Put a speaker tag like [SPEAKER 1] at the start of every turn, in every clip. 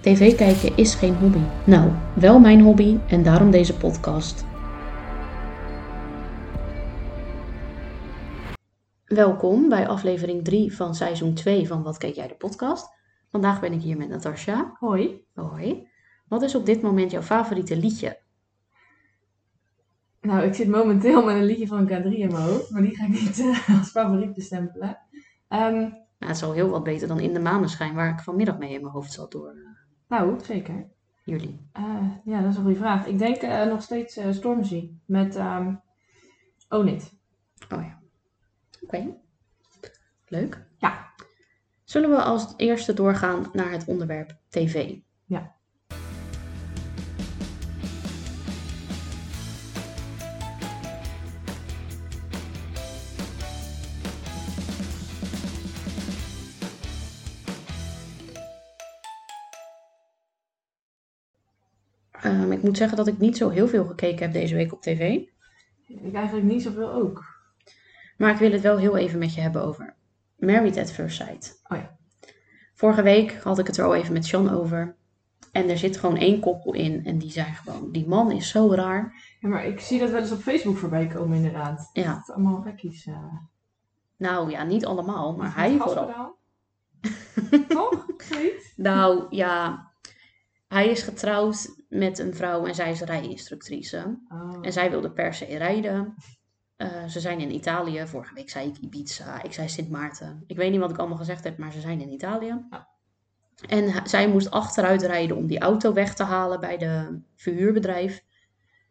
[SPEAKER 1] TV kijken is geen hobby. Nou, wel mijn hobby en daarom deze podcast. Welkom bij aflevering 3 van seizoen 2 van Wat Keek Jij de Podcast. Vandaag ben ik hier met Natasja. Hoi. Hoi. Wat is op dit moment jouw favoriete liedje?
[SPEAKER 2] Nou, ik zit momenteel met een liedje van K3 in mijn hoofd, maar die ga ik niet eh, als favoriet bestempelen. Ehm,
[SPEAKER 1] Nou, het is al heel wat beter dan In de Maneschijn, waar ik vanmiddag mee in mijn hoofd zat door eh,
[SPEAKER 2] nou, zeker.
[SPEAKER 1] jullie.
[SPEAKER 2] Eh, ja, dat is een goede vraag. Ik denk eh, nog steeds eh, Stormzy met ehm Own It.
[SPEAKER 1] Oh ja. Oké. Leuk.
[SPEAKER 2] Ja.
[SPEAKER 1] Zullen we als eerste doorgaan naar het onderwerp TV?
[SPEAKER 2] Ja.
[SPEAKER 1] Ehm, ik moet zeggen dat ik niet zo heel veel gekeken heb deze week op tv.
[SPEAKER 2] Ik eigenlijk niet zoveel ook.
[SPEAKER 1] Maar ik wil het wel heel even met je hebben over Married at First Sight.
[SPEAKER 2] Oh ja.
[SPEAKER 1] Vorige week had ik het er al even met Sean over. En er zit gewoon één koppel in. En die zijn gewoon, die man is zo raar.
[SPEAKER 2] Ja, maar ik zie dat wel eens op Facebook voorbij komen inderdaad.
[SPEAKER 1] Ja,
[SPEAKER 2] Dat het allemaal gekkies. eh,
[SPEAKER 1] nou ja, niet allemaal, maar
[SPEAKER 2] met
[SPEAKER 1] hij vooral.
[SPEAKER 2] gaspedaal. Toch? Zoiets?
[SPEAKER 1] Nou ja, hij is getrouwd met een vrouw en zij is rijinstructrice.
[SPEAKER 2] Oh.
[SPEAKER 1] En zij wilde per se rijden. Eh, ze zijn in Italië. Vorige week zei ik Ibiza, ik zei Sint Maarten. Ik weet niet wat ik allemaal gezegd heb, maar ze zijn in Italië.
[SPEAKER 2] Ja.
[SPEAKER 1] En h- zij moest achteruit rijden om die auto weg te halen bij de verhuurbedrijf.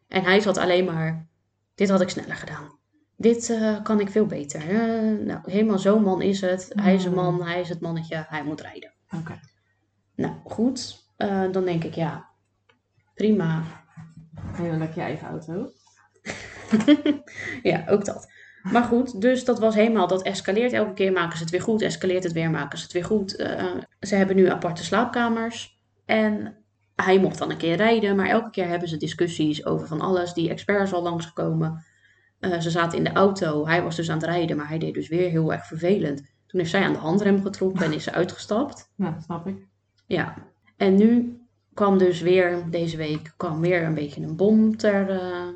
[SPEAKER 1] En hij zat alleen maar, dit had ik sneller gedaan. Dit eh, kan ik veel beter. Eh, nou, helemaal zo'n man is het. Hij is een
[SPEAKER 2] Mm.
[SPEAKER 1] man, hij is het mannetje, hij moet rijden.
[SPEAKER 2] Oké.
[SPEAKER 1] Nou, goed. Eh, dan denk ik, ja, prima.
[SPEAKER 2] Heel lekker je eigen auto.
[SPEAKER 1] ja, ook dat. Maar goed, dus dat was helemaal, dat escaleert elke keer, maken ze het weer goed, escaleert het weer, maken ze het weer goed. Eh, ze hebben nu aparte slaapkamers en hij mocht dan een keer rijden, maar elke keer hebben ze discussies over van alles. Die expert is al langsgekomen, Eh, ze zaten in de auto, hij was dus aan het rijden, maar hij deed dus weer heel erg vervelend. Toen heeft zij aan de handrem getrokken en is ze uitgestapt.
[SPEAKER 2] Nou, snap ik.
[SPEAKER 1] Ja, en nu kwam dus weer deze week kwam weer een beetje een bom ter eh,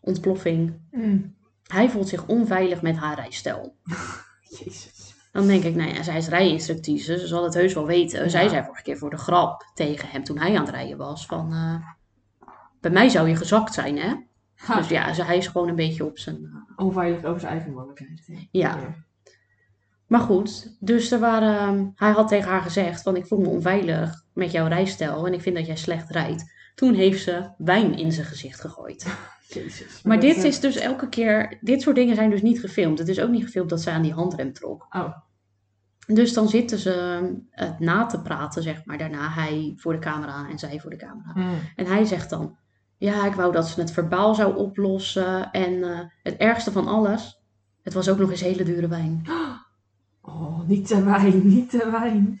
[SPEAKER 1] ontploffing.
[SPEAKER 2] Mm.
[SPEAKER 1] Hij voelt zich onveilig met haar rijstijl.
[SPEAKER 2] Jezus.
[SPEAKER 1] Dan denk ik, nou ja, zij is rijinstructrice, ze zal het heus wel weten.
[SPEAKER 2] Ja.
[SPEAKER 1] Zij zei vorige keer voor de grap tegen hem toen hij aan het rijden was van... eh, bij mij zou je gezakt zijn, hè?
[SPEAKER 2] Ha.
[SPEAKER 1] Dus ja, ze- hij is gewoon een beetje op zijn... eh,
[SPEAKER 2] Onveilig over zijn eigen mogelijkheid.
[SPEAKER 1] ja. Maar goed, dus er waren, hij had tegen haar gezegd van ik voel me onveilig met jouw rijstijl en ik vind dat jij slecht rijdt. Toen heeft ze wijn in zijn gezicht gegooid.
[SPEAKER 2] Jezus.
[SPEAKER 1] Maar
[SPEAKER 2] dat,
[SPEAKER 1] dit
[SPEAKER 2] eh,
[SPEAKER 1] is dus elke keer, dit soort dingen zijn dus niet gefilmd. Het is ook niet gefilmd dat ze aan die handrem trok.
[SPEAKER 2] Oh.
[SPEAKER 1] Dus dan zitten ze eh, het na te praten, zeg maar, daarna hij voor de camera en zij voor de camera.
[SPEAKER 2] Mm.
[SPEAKER 1] En hij zegt dan: Ja, ik wou dat ze het verbaal zou oplossen. En eh, het ergste van alles, het was ook nog eens hele dure wijn.
[SPEAKER 2] Oh, niet te wijn, niet te wijn.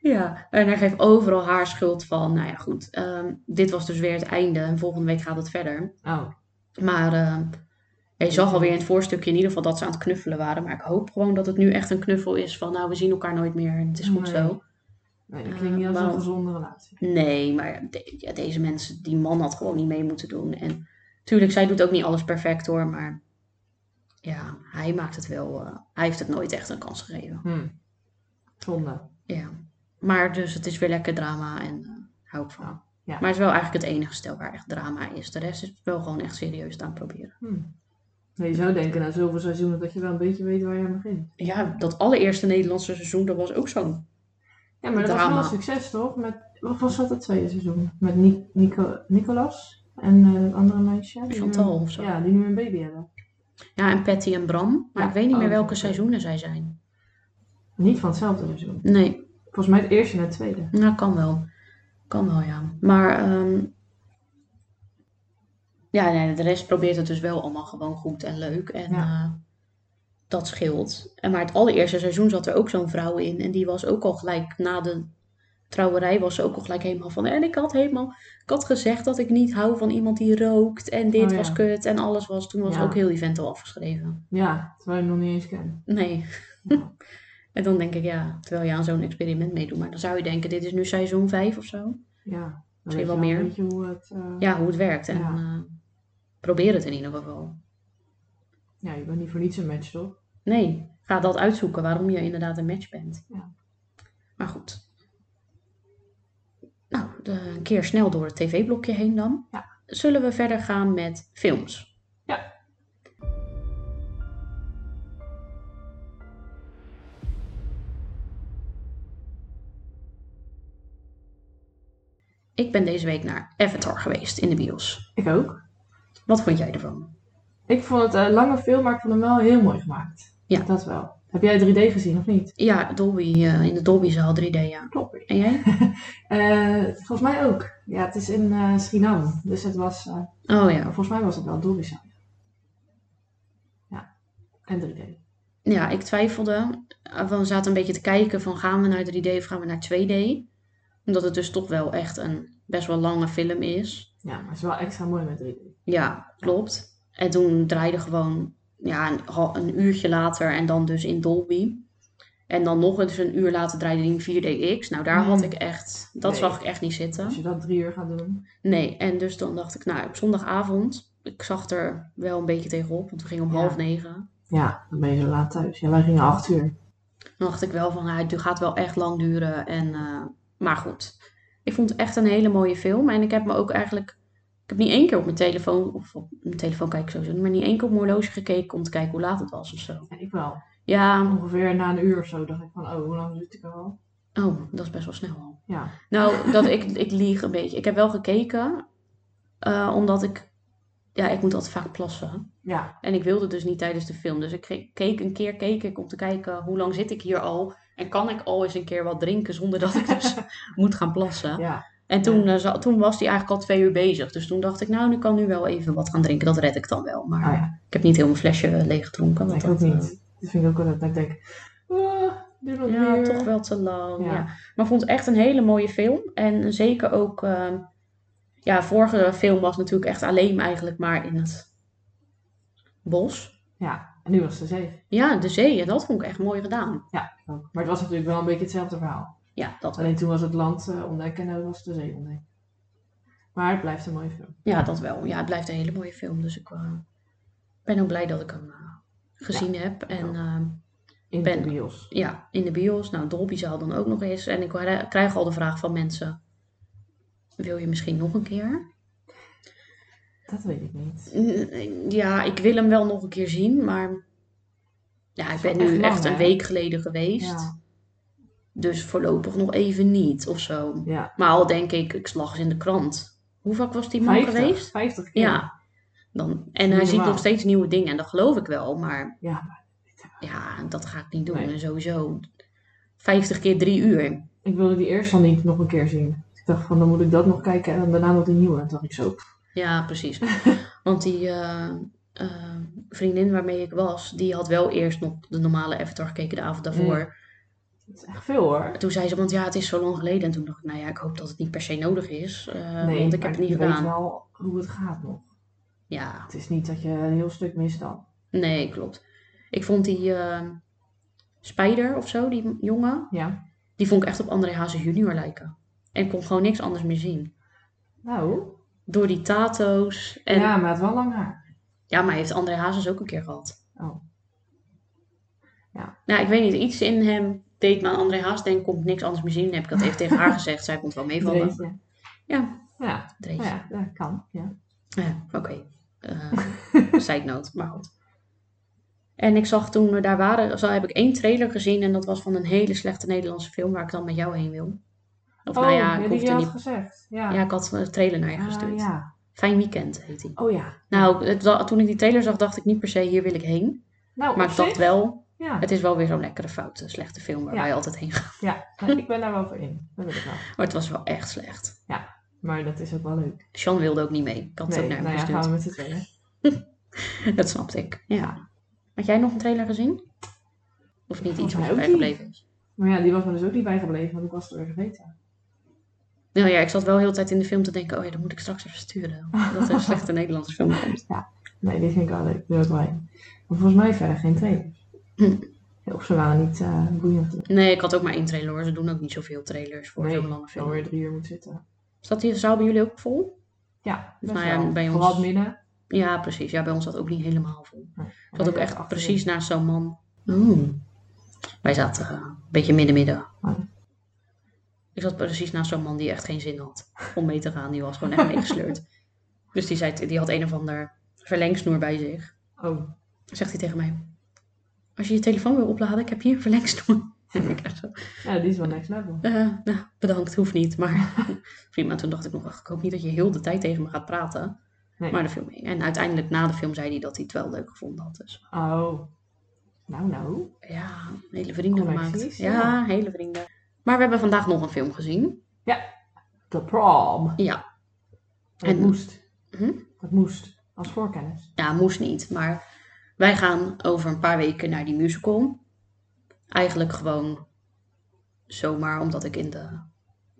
[SPEAKER 1] Ja, en hij geeft overal haar schuld van. Nou ja, goed, ehm, dit was dus weer het einde en volgende week gaat het verder.
[SPEAKER 2] Oh,
[SPEAKER 1] Maar ehm, je zag alweer in het voorstukje in ieder geval dat ze aan het knuffelen waren. Maar ik hoop gewoon dat het nu echt een knuffel is van nou, we zien elkaar nooit meer en het is goed
[SPEAKER 2] Nee.
[SPEAKER 1] zo.
[SPEAKER 2] nee, dat klinkt niet als
[SPEAKER 1] Eh,
[SPEAKER 2] een
[SPEAKER 1] wauw.
[SPEAKER 2] gezonde relatie.
[SPEAKER 1] Nee, maar ja, de- ja, deze mensen, die man had gewoon niet mee moeten doen. En tuurlijk, zij doet ook niet alles perfect hoor, maar ja, hij maakt het wel, eh, hij heeft het nooit echt een kans gegeven.
[SPEAKER 2] Hm. Zonde.
[SPEAKER 1] Ja, maar dus het is weer lekker drama en eh, hou ik van.
[SPEAKER 2] Ja.
[SPEAKER 1] Maar het is wel eigenlijk het enige stel waar echt drama is. De rest is wel gewoon echt serieus het aan het proberen.
[SPEAKER 2] Hm. Nee, je zou denken na zoveel seizoenen dat je wel een beetje weet waar je aan begint.
[SPEAKER 1] Ja, dat allereerste Nederlandse seizoen, dat was ook zo'n...
[SPEAKER 2] Ja, maar dat was wel
[SPEAKER 1] Drama.
[SPEAKER 2] een succes toch? Met, wat was dat het tweede seizoen? Met Ni- Nico Nicolas en eh dat andere meisje. die nu-
[SPEAKER 1] Chantal of zo.
[SPEAKER 2] Ja, die nu een baby hebben.
[SPEAKER 1] Ja, en Patty en Bram. Maar
[SPEAKER 2] Ja,
[SPEAKER 1] ik weet niet
[SPEAKER 2] oh,
[SPEAKER 1] meer
[SPEAKER 2] dat
[SPEAKER 1] welke
[SPEAKER 2] is oké.
[SPEAKER 1] seizoenen zij zijn.
[SPEAKER 2] Niet van hetzelfde seizoen.
[SPEAKER 1] Nee,
[SPEAKER 2] Volgens mij het eerste en het tweede.
[SPEAKER 1] nou kan wel. Kan wel, ja. Maar ehm, Ja, nee, de rest probeert het dus wel allemaal gewoon goed en leuk. En
[SPEAKER 2] Ja.
[SPEAKER 1] eh, dat scheelt. En maar het allereerste seizoen zat er ook zo'n vrouw in. En die was ook al gelijk na de trouwerij was ze ook al gelijk helemaal van. En ik had helemaal. Ik had gezegd dat ik niet hou van iemand die rookt. En dit
[SPEAKER 2] Oh ja.
[SPEAKER 1] was kut. En alles was. Toen was
[SPEAKER 2] Ja.
[SPEAKER 1] ook heel event al afgeschreven.
[SPEAKER 2] Ja, terwijl je hem nog niet eens kent.
[SPEAKER 1] Nee.
[SPEAKER 2] Ja.
[SPEAKER 1] en dan denk ik, ja, terwijl je aan zo'n experiment meedoet. Maar dan zou je denken, dit is nu seizoen 5 of zo.
[SPEAKER 2] Ja, dan
[SPEAKER 1] Misschien
[SPEAKER 2] weet
[SPEAKER 1] wel
[SPEAKER 2] je
[SPEAKER 1] meer.
[SPEAKER 2] Weet je hoe het... eh, ja.
[SPEAKER 1] Ja, hoe het werkt. En
[SPEAKER 2] Ja.
[SPEAKER 1] eh, probeer het in ieder geval.
[SPEAKER 2] je bent niet voor niets een match, toch?
[SPEAKER 1] Nee, ga dat uitzoeken waarom je inderdaad een match bent.
[SPEAKER 2] Ja.
[SPEAKER 1] Maar goed. Nou, de- een keer snel door het tv-blokje heen dan.
[SPEAKER 2] Ja.
[SPEAKER 1] Zullen we verder gaan met films?
[SPEAKER 2] Ja.
[SPEAKER 1] Ik ben deze week naar Avatar geweest in de bios.
[SPEAKER 2] Ik ook.
[SPEAKER 1] Wat vond jij ervan?
[SPEAKER 2] Ik vond het een lange film, maar ik vond hem wel heel mooi gemaakt.
[SPEAKER 1] Ja.
[SPEAKER 2] Dat wel. Heb jij 3D gezien of niet?
[SPEAKER 1] Ja, Dolby, eh, in de Dolby-zaal 3D, ja.
[SPEAKER 2] Klopt.
[SPEAKER 1] En jij?
[SPEAKER 2] Eh, volgens mij ook. Ja, het is in eh, Suriname. Dus het was... eh,
[SPEAKER 1] Oh ja,
[SPEAKER 2] volgens mij was het wel Dolby Sound. Ja. En 3D.
[SPEAKER 1] Ja, ik twijfelde. Eh, We zaten een beetje te kijken van gaan we naar 3D of gaan we naar 2D? Omdat het dus toch wel echt een best wel lange film is.
[SPEAKER 2] Ja, maar het is wel extra mooi met 3D.
[SPEAKER 1] Ja, klopt. En toen draaide gewoon ja, een, ha- een uurtje later en dan dus in Dolby. En dan nog eens een uur later draaide die in 4DX. Nou, daar
[SPEAKER 2] Mm.
[SPEAKER 1] had ik echt, dat
[SPEAKER 2] Nee.
[SPEAKER 1] zag ik echt niet zitten.
[SPEAKER 2] Als je dat drie uur gaat doen.
[SPEAKER 1] Nee, en dus dan dacht ik, nou, op zondagavond, ik zag er wel een beetje tegenop, want we gingen om
[SPEAKER 2] Ja.
[SPEAKER 1] half negen.
[SPEAKER 2] Ja, dan ben je zo laat thuis. Ja, wij gingen acht uur.
[SPEAKER 1] Dan dacht ik wel van, nou, het gaat wel echt lang duren. En, eh, maar goed, ik vond het echt een hele mooie film. En ik heb me ook eigenlijk, ik heb niet één keer op mijn telefoon, of op mijn telefoon kijk ik sowieso, niet, maar niet één keer op mijn horloge gekeken om te kijken hoe laat het was of zo.
[SPEAKER 2] Ja, ik wel.
[SPEAKER 1] Ja,
[SPEAKER 2] Ongeveer na een uur of zo dacht ik van, oh, hoe lang zit ik er al?
[SPEAKER 1] oh, dat is best wel snel al.
[SPEAKER 2] Ja.
[SPEAKER 1] Nou, dat ik, ik lieg een beetje. Ik heb wel gekeken, eh, omdat ik, ja, ik moet altijd vaak plassen.
[SPEAKER 2] Ja,
[SPEAKER 1] En ik wilde dus niet tijdens de film. Dus ik ke- keek een keer keek ik om te kijken hoe lang zit ik hier al. En kan ik al eens een keer wat drinken zonder dat ik dus moet gaan plassen.
[SPEAKER 2] ja.
[SPEAKER 1] En toen, eh, za- toen was hij eigenlijk al twee uur bezig. Dus toen dacht ik, nou, nu kan nu wel even wat gaan drinken. Dat red ik dan wel. Maar
[SPEAKER 2] Ah ja,
[SPEAKER 1] ik heb niet heel mijn flesje eh, leeg gedronken.
[SPEAKER 2] dat
[SPEAKER 1] want
[SPEAKER 2] ik ook
[SPEAKER 1] dat, eh,
[SPEAKER 2] niet. Dat vind ik ook altijd dat ik denk, ah, duurt nog
[SPEAKER 1] ja,
[SPEAKER 2] meer.
[SPEAKER 1] toch wel te lang. Ja.
[SPEAKER 2] Ja.
[SPEAKER 1] Maar ik vond het echt een hele mooie film. En zeker ook... eh, ja, vorige film was natuurlijk echt alleen eigenlijk maar in het bos.
[SPEAKER 2] Ja, en nu was de zee.
[SPEAKER 1] Ja, de zee. En dat vond ik echt mooi gedaan.
[SPEAKER 2] Ja, ik ook. Maar het was natuurlijk wel een beetje hetzelfde verhaal.
[SPEAKER 1] Ja, dat
[SPEAKER 2] Alleen toen was het land eh, ontdekken en nu was de zee ontdekken. Maar het blijft een mooie film.
[SPEAKER 1] Ja, dat wel. Ja, het blijft een hele mooie film. Dus ik eh, ben ook blij dat ik hem eh, gezien heb. En
[SPEAKER 2] ook.
[SPEAKER 1] eh,
[SPEAKER 2] In
[SPEAKER 1] Ben-
[SPEAKER 2] de bios.
[SPEAKER 1] ja, in de bios. Nou, Dolbyzaal dan ook nog eens. En ik kri- krijg al de vraag van mensen... Wil je misschien nog een keer?
[SPEAKER 2] Dat weet ik niet.
[SPEAKER 1] Mm, Ja, ik wil hem wel nog een keer zien, maar... Ja, ik
[SPEAKER 2] is wel
[SPEAKER 1] ben nu
[SPEAKER 2] echt lang,
[SPEAKER 1] echt een
[SPEAKER 2] hè?
[SPEAKER 1] week geleden geweest.
[SPEAKER 2] Ja.
[SPEAKER 1] Dus voorlopig nog even niet, of zo.
[SPEAKER 2] ja.
[SPEAKER 1] Maar al denk ik, ik slag eens in de krant. Hoe vaak was die man
[SPEAKER 2] 50,
[SPEAKER 1] geweest?
[SPEAKER 2] 50 keer.
[SPEAKER 1] Ja. Dan, en hij
[SPEAKER 2] Niet
[SPEAKER 1] ziet nog
[SPEAKER 2] normaal.
[SPEAKER 1] steeds nieuwe dingen en dat geloof ik wel, maar
[SPEAKER 2] Ja, maar
[SPEAKER 1] ja, dat ga ik niet doen.
[SPEAKER 2] Nee.
[SPEAKER 1] En sowieso 50 keer 3 uur.
[SPEAKER 2] ik wilde die eerste dan niet nog een keer zien. Ik dacht van, dan moet ik dat nog kijken en daarna nog die nieuwe. En toen dacht ik zo, pff,
[SPEAKER 1] Ja, precies. Want die eh, eh, vriendin waarmee ik was, die had wel eerst nog de normale Avatar gekeken de avond daarvoor.
[SPEAKER 2] Mm. dat is echt veel hoor.
[SPEAKER 1] En Toen zei ze, Eh, want ja, het is zo lang geleden. En toen dacht ik, nou ja, ik hoop dat het niet per se nodig is, eh,
[SPEAKER 2] nee,
[SPEAKER 1] want ik
[SPEAKER 2] maar
[SPEAKER 1] heb het niet
[SPEAKER 2] je
[SPEAKER 1] gedaan.
[SPEAKER 2] weet wel hoe het gaat nog.
[SPEAKER 1] Ja,
[SPEAKER 2] Het is niet dat je een heel stuk mist dan.
[SPEAKER 1] nee, klopt. Ik vond die eh, Spider of zo, die jongen,
[SPEAKER 2] Ja.
[SPEAKER 1] die vond ik echt op André Hazen junior lijken. En ik kon gewoon niks anders meer zien.
[SPEAKER 2] Nou,
[SPEAKER 1] Door die tato's. En, ja.
[SPEAKER 2] ja, maar het wel lang haar.
[SPEAKER 1] maar hij heeft André Hazes ook een keer gehad.
[SPEAKER 2] Oh.
[SPEAKER 1] Nou, ik weet niet. Iets in hem deed me aan André Hazes denken. Komt niks anders meer zien. Dan heb ik dat even tegen haar gezegd. Zij komt wel meevallen.
[SPEAKER 2] Dreetje.
[SPEAKER 1] Ja.
[SPEAKER 2] Ja,
[SPEAKER 1] Dreetje.
[SPEAKER 2] nou ja, dat kan. Ja.
[SPEAKER 1] Ja, Oké. Eh side note, Maar goed. En ik zag toen we daar waren. Zo heb ik één trailer gezien. En dat was van een hele slechte Nederlandse film. Waar ik dan met jou heen wil. Of nou ja, ik
[SPEAKER 2] die
[SPEAKER 1] hoefde
[SPEAKER 2] Oh, je had
[SPEAKER 1] niet.
[SPEAKER 2] gezegd. Ja.
[SPEAKER 1] Ja, ik had een trailer naar je
[SPEAKER 2] Ah,
[SPEAKER 1] gestuurd.
[SPEAKER 2] ja.
[SPEAKER 1] Fijn weekend heet die.
[SPEAKER 2] Oh ja.
[SPEAKER 1] Nou, het wa- toen ik die trailer zag, dacht ik niet per se hier wil ik heen.
[SPEAKER 2] Nou,
[SPEAKER 1] Maar
[SPEAKER 2] op
[SPEAKER 1] ik dacht
[SPEAKER 2] zich,
[SPEAKER 1] wel,
[SPEAKER 2] Ja,
[SPEAKER 1] Het is wel weer zo'n lekkere foute, slechte film waar
[SPEAKER 2] Ja. nou,
[SPEAKER 1] wij altijd heen gaan.
[SPEAKER 2] ja. Nee, ik ben daar wel voor in. Dat wil ik wel.
[SPEAKER 1] Maar het was wel echt slecht.
[SPEAKER 2] Ja. Maar dat is ook wel leuk.
[SPEAKER 1] Sean wilde ook niet mee. Ik had het ook naar hem
[SPEAKER 2] nou ja,
[SPEAKER 1] gestuurd.
[SPEAKER 2] gaan we met z'n tweeën.
[SPEAKER 1] Dat snapte ik, ja. Had jij nog een trailer gezien? Of niet
[SPEAKER 2] Volgens
[SPEAKER 1] iets
[SPEAKER 2] mij
[SPEAKER 1] wat
[SPEAKER 2] ook
[SPEAKER 1] erbij
[SPEAKER 2] niet.
[SPEAKER 1] gebleven is?
[SPEAKER 2] Maar ja, die was me dus ook niet bijgebleven, want ik was het weer geweten.
[SPEAKER 1] Nou ja, ik zat wel heel de tijd in de film te denken, oh ja, dat moet ik straks even sturen. Dat er een slechte Nederlandse film komt.
[SPEAKER 2] Nee, die vind ik wel leuk. Die wil ik wel heen. Maar volgens mij verder geen trailers.
[SPEAKER 1] Hm.
[SPEAKER 2] Ja, Of ze waren niet eh boeiend.
[SPEAKER 1] Nee, ik had ook maar één trailer hoor. Ze doen ook niet zoveel trailers voor
[SPEAKER 2] Nee,
[SPEAKER 1] zo'n lange
[SPEAKER 2] Dan
[SPEAKER 1] film.
[SPEAKER 2] weer drie uur moet zitten.
[SPEAKER 1] Zat die zaal bij jullie ook vol?
[SPEAKER 2] Ja, best
[SPEAKER 1] Nou ja,
[SPEAKER 2] wel.
[SPEAKER 1] bij ons-
[SPEAKER 2] Vooral het midden.
[SPEAKER 1] Ja, precies. Ja, bij ons zat ook niet helemaal vol. Ik zat ook echt
[SPEAKER 2] Achterin.
[SPEAKER 1] precies naast zo'n man. Hmm. Wij zaten eh, een beetje midden-midden.
[SPEAKER 2] Mm. Oh.
[SPEAKER 1] Ik zat precies naast zo'n man die echt geen zin had om mee te gaan. Die was gewoon echt meegesleurd. Dus die, zei, die had een of ander verlengsnoer bij zich.
[SPEAKER 2] Oh,
[SPEAKER 1] Zegt hij tegen mij. Als je je telefoon wil opladen, ik heb hier een verlengsnoer. En ik echt zo,
[SPEAKER 2] ja, die is wel next level.
[SPEAKER 1] eh, nou, bedankt, hoeft niet. Maar prima, toen dacht ik nog, ach, ik hoop niet dat je heel de tijd tegen me gaat praten.
[SPEAKER 2] Nee.
[SPEAKER 1] Maar de film mee. En uiteindelijk na de film zei hij dat hij het wel leuk gevonden had. Dus
[SPEAKER 2] Oh. Nou, nou.
[SPEAKER 1] ja, hele vrienden gemaakt.
[SPEAKER 2] Connecties, ja.
[SPEAKER 1] Ja, hele vrienden. Maar we hebben vandaag nog een film gezien.
[SPEAKER 2] The prom.
[SPEAKER 1] Ja,
[SPEAKER 2] Het
[SPEAKER 1] En-
[SPEAKER 2] moest.
[SPEAKER 1] Hm?
[SPEAKER 2] Het moest. Als voorkennis.
[SPEAKER 1] ja moest niet. Maar wij gaan over een paar weken naar die musical. Eigenlijk gewoon zomaar omdat ik in de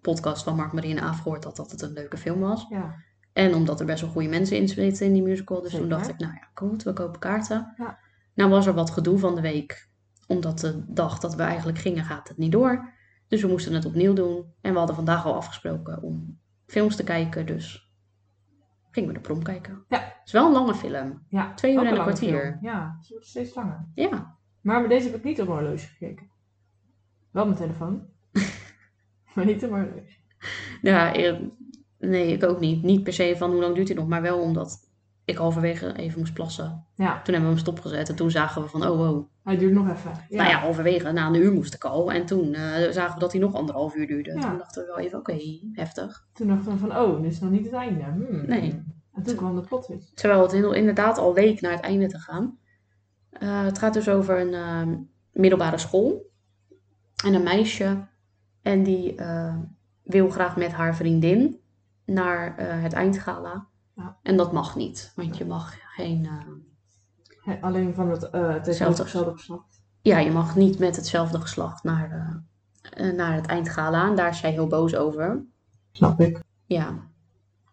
[SPEAKER 1] podcast van Mark Marie en Aaf gehoord had dat het een leuke film was.
[SPEAKER 2] Ja.
[SPEAKER 1] En omdat er best wel goede mensen in zitten in die musical. Dus toen
[SPEAKER 2] Zeker.
[SPEAKER 1] dacht ik, nou ja, goed, we kopen kaarten.
[SPEAKER 2] Ja.
[SPEAKER 1] Nou was er wat gedoe van de week. Omdat de dag dat we eigenlijk gingen, gaat het niet door. Dus we moesten het opnieuw doen. En we hadden vandaag al afgesproken om films te kijken. Dus gingen we de prom kijken.
[SPEAKER 2] Ja.
[SPEAKER 1] Het is wel een lange film.
[SPEAKER 2] ja.
[SPEAKER 1] Twee uur
[SPEAKER 2] Ook
[SPEAKER 1] en een
[SPEAKER 2] lange
[SPEAKER 1] kwartier.
[SPEAKER 2] film. Ja, ze wordt steeds langer.
[SPEAKER 1] Ja,
[SPEAKER 2] Maar met deze heb ik niet op mijn horloge gekeken. Wel mijn telefoon. maar niet op mijn horloge.
[SPEAKER 1] ja eh, nee, ik ook niet. Niet per se van hoe lang duurt dit nog. Maar wel omdat ik halverwege even moest plassen.
[SPEAKER 2] Ja,
[SPEAKER 1] Toen hebben we hem stopgezet. En toen zagen we van, oh wow,
[SPEAKER 2] hij duurt nog even. Ja.
[SPEAKER 1] Nou ja, halverwege, na een uur moest ik al. En toen eh, zagen we dat hij nog anderhalf uur duurde.
[SPEAKER 2] Ja.
[SPEAKER 1] Toen dachten we wel even, oké, heftig.
[SPEAKER 2] Toen dachten we van, oh, dit is nog niet het einde. Hmm.
[SPEAKER 1] Nee.
[SPEAKER 2] En toen kwam de plot twist.
[SPEAKER 1] Terwijl het heel- inderdaad al leek naar het einde te gaan. Eh, het gaat dus over een ehm, middelbare school. En een meisje. En die eh, wil graag met haar vriendin naar eh, het eindgala.
[SPEAKER 2] Ja.
[SPEAKER 1] En dat mag niet. Want je mag geen... eh,
[SPEAKER 2] Hè, alleen van het eh
[SPEAKER 1] Zelfde.
[SPEAKER 2] tegenovergestelde geslacht.
[SPEAKER 1] ja, je mag niet met hetzelfde geslacht naar, eh, eh, naar het eindgala. En daar is zij heel boos over.
[SPEAKER 2] Snap ik.
[SPEAKER 1] Ja.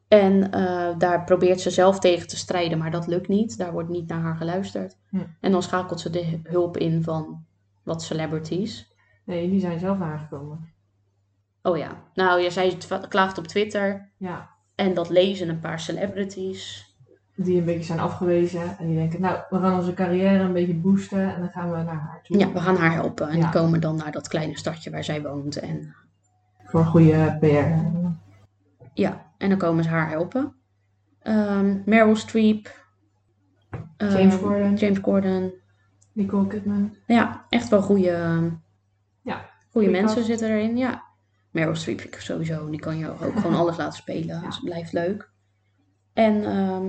[SPEAKER 1] En eh, daar probeert ze zelf tegen te strijden, maar dat lukt niet. Daar wordt niet naar haar geluisterd.
[SPEAKER 2] Hm.
[SPEAKER 1] En dan schakelt ze de hulp in van wat celebrities.
[SPEAKER 2] Nee, die zijn zelf aangekomen.
[SPEAKER 1] Oh ja, nou, ja, zij twa- klaagt op Twitter
[SPEAKER 2] Ja.
[SPEAKER 1] en dat lezen een paar celebrities.
[SPEAKER 2] Die een beetje zijn afgewezen. En die denken, nou, we gaan onze carrière een beetje boosten. En dan gaan we naar haar toe.
[SPEAKER 1] Ja, we gaan haar helpen. En
[SPEAKER 2] Ja.
[SPEAKER 1] die komen dan naar dat kleine stadje waar zij woont. En
[SPEAKER 2] Voor goede PR.
[SPEAKER 1] ja, en dan komen ze haar helpen. Ehm, Meryl Streep. ehm,
[SPEAKER 2] James Corden.
[SPEAKER 1] James Corden.
[SPEAKER 2] Nicole Kidman.
[SPEAKER 1] Ja, echt wel goede,
[SPEAKER 2] Ja,
[SPEAKER 1] goede
[SPEAKER 2] goeie
[SPEAKER 1] mensen
[SPEAKER 2] cast.
[SPEAKER 1] zitten erin. Ja. Meryl Streep vind ik sowieso. Die kan je ook gewoon alles laten spelen.
[SPEAKER 2] Ja.
[SPEAKER 1] Dus het blijft leuk. En ehm,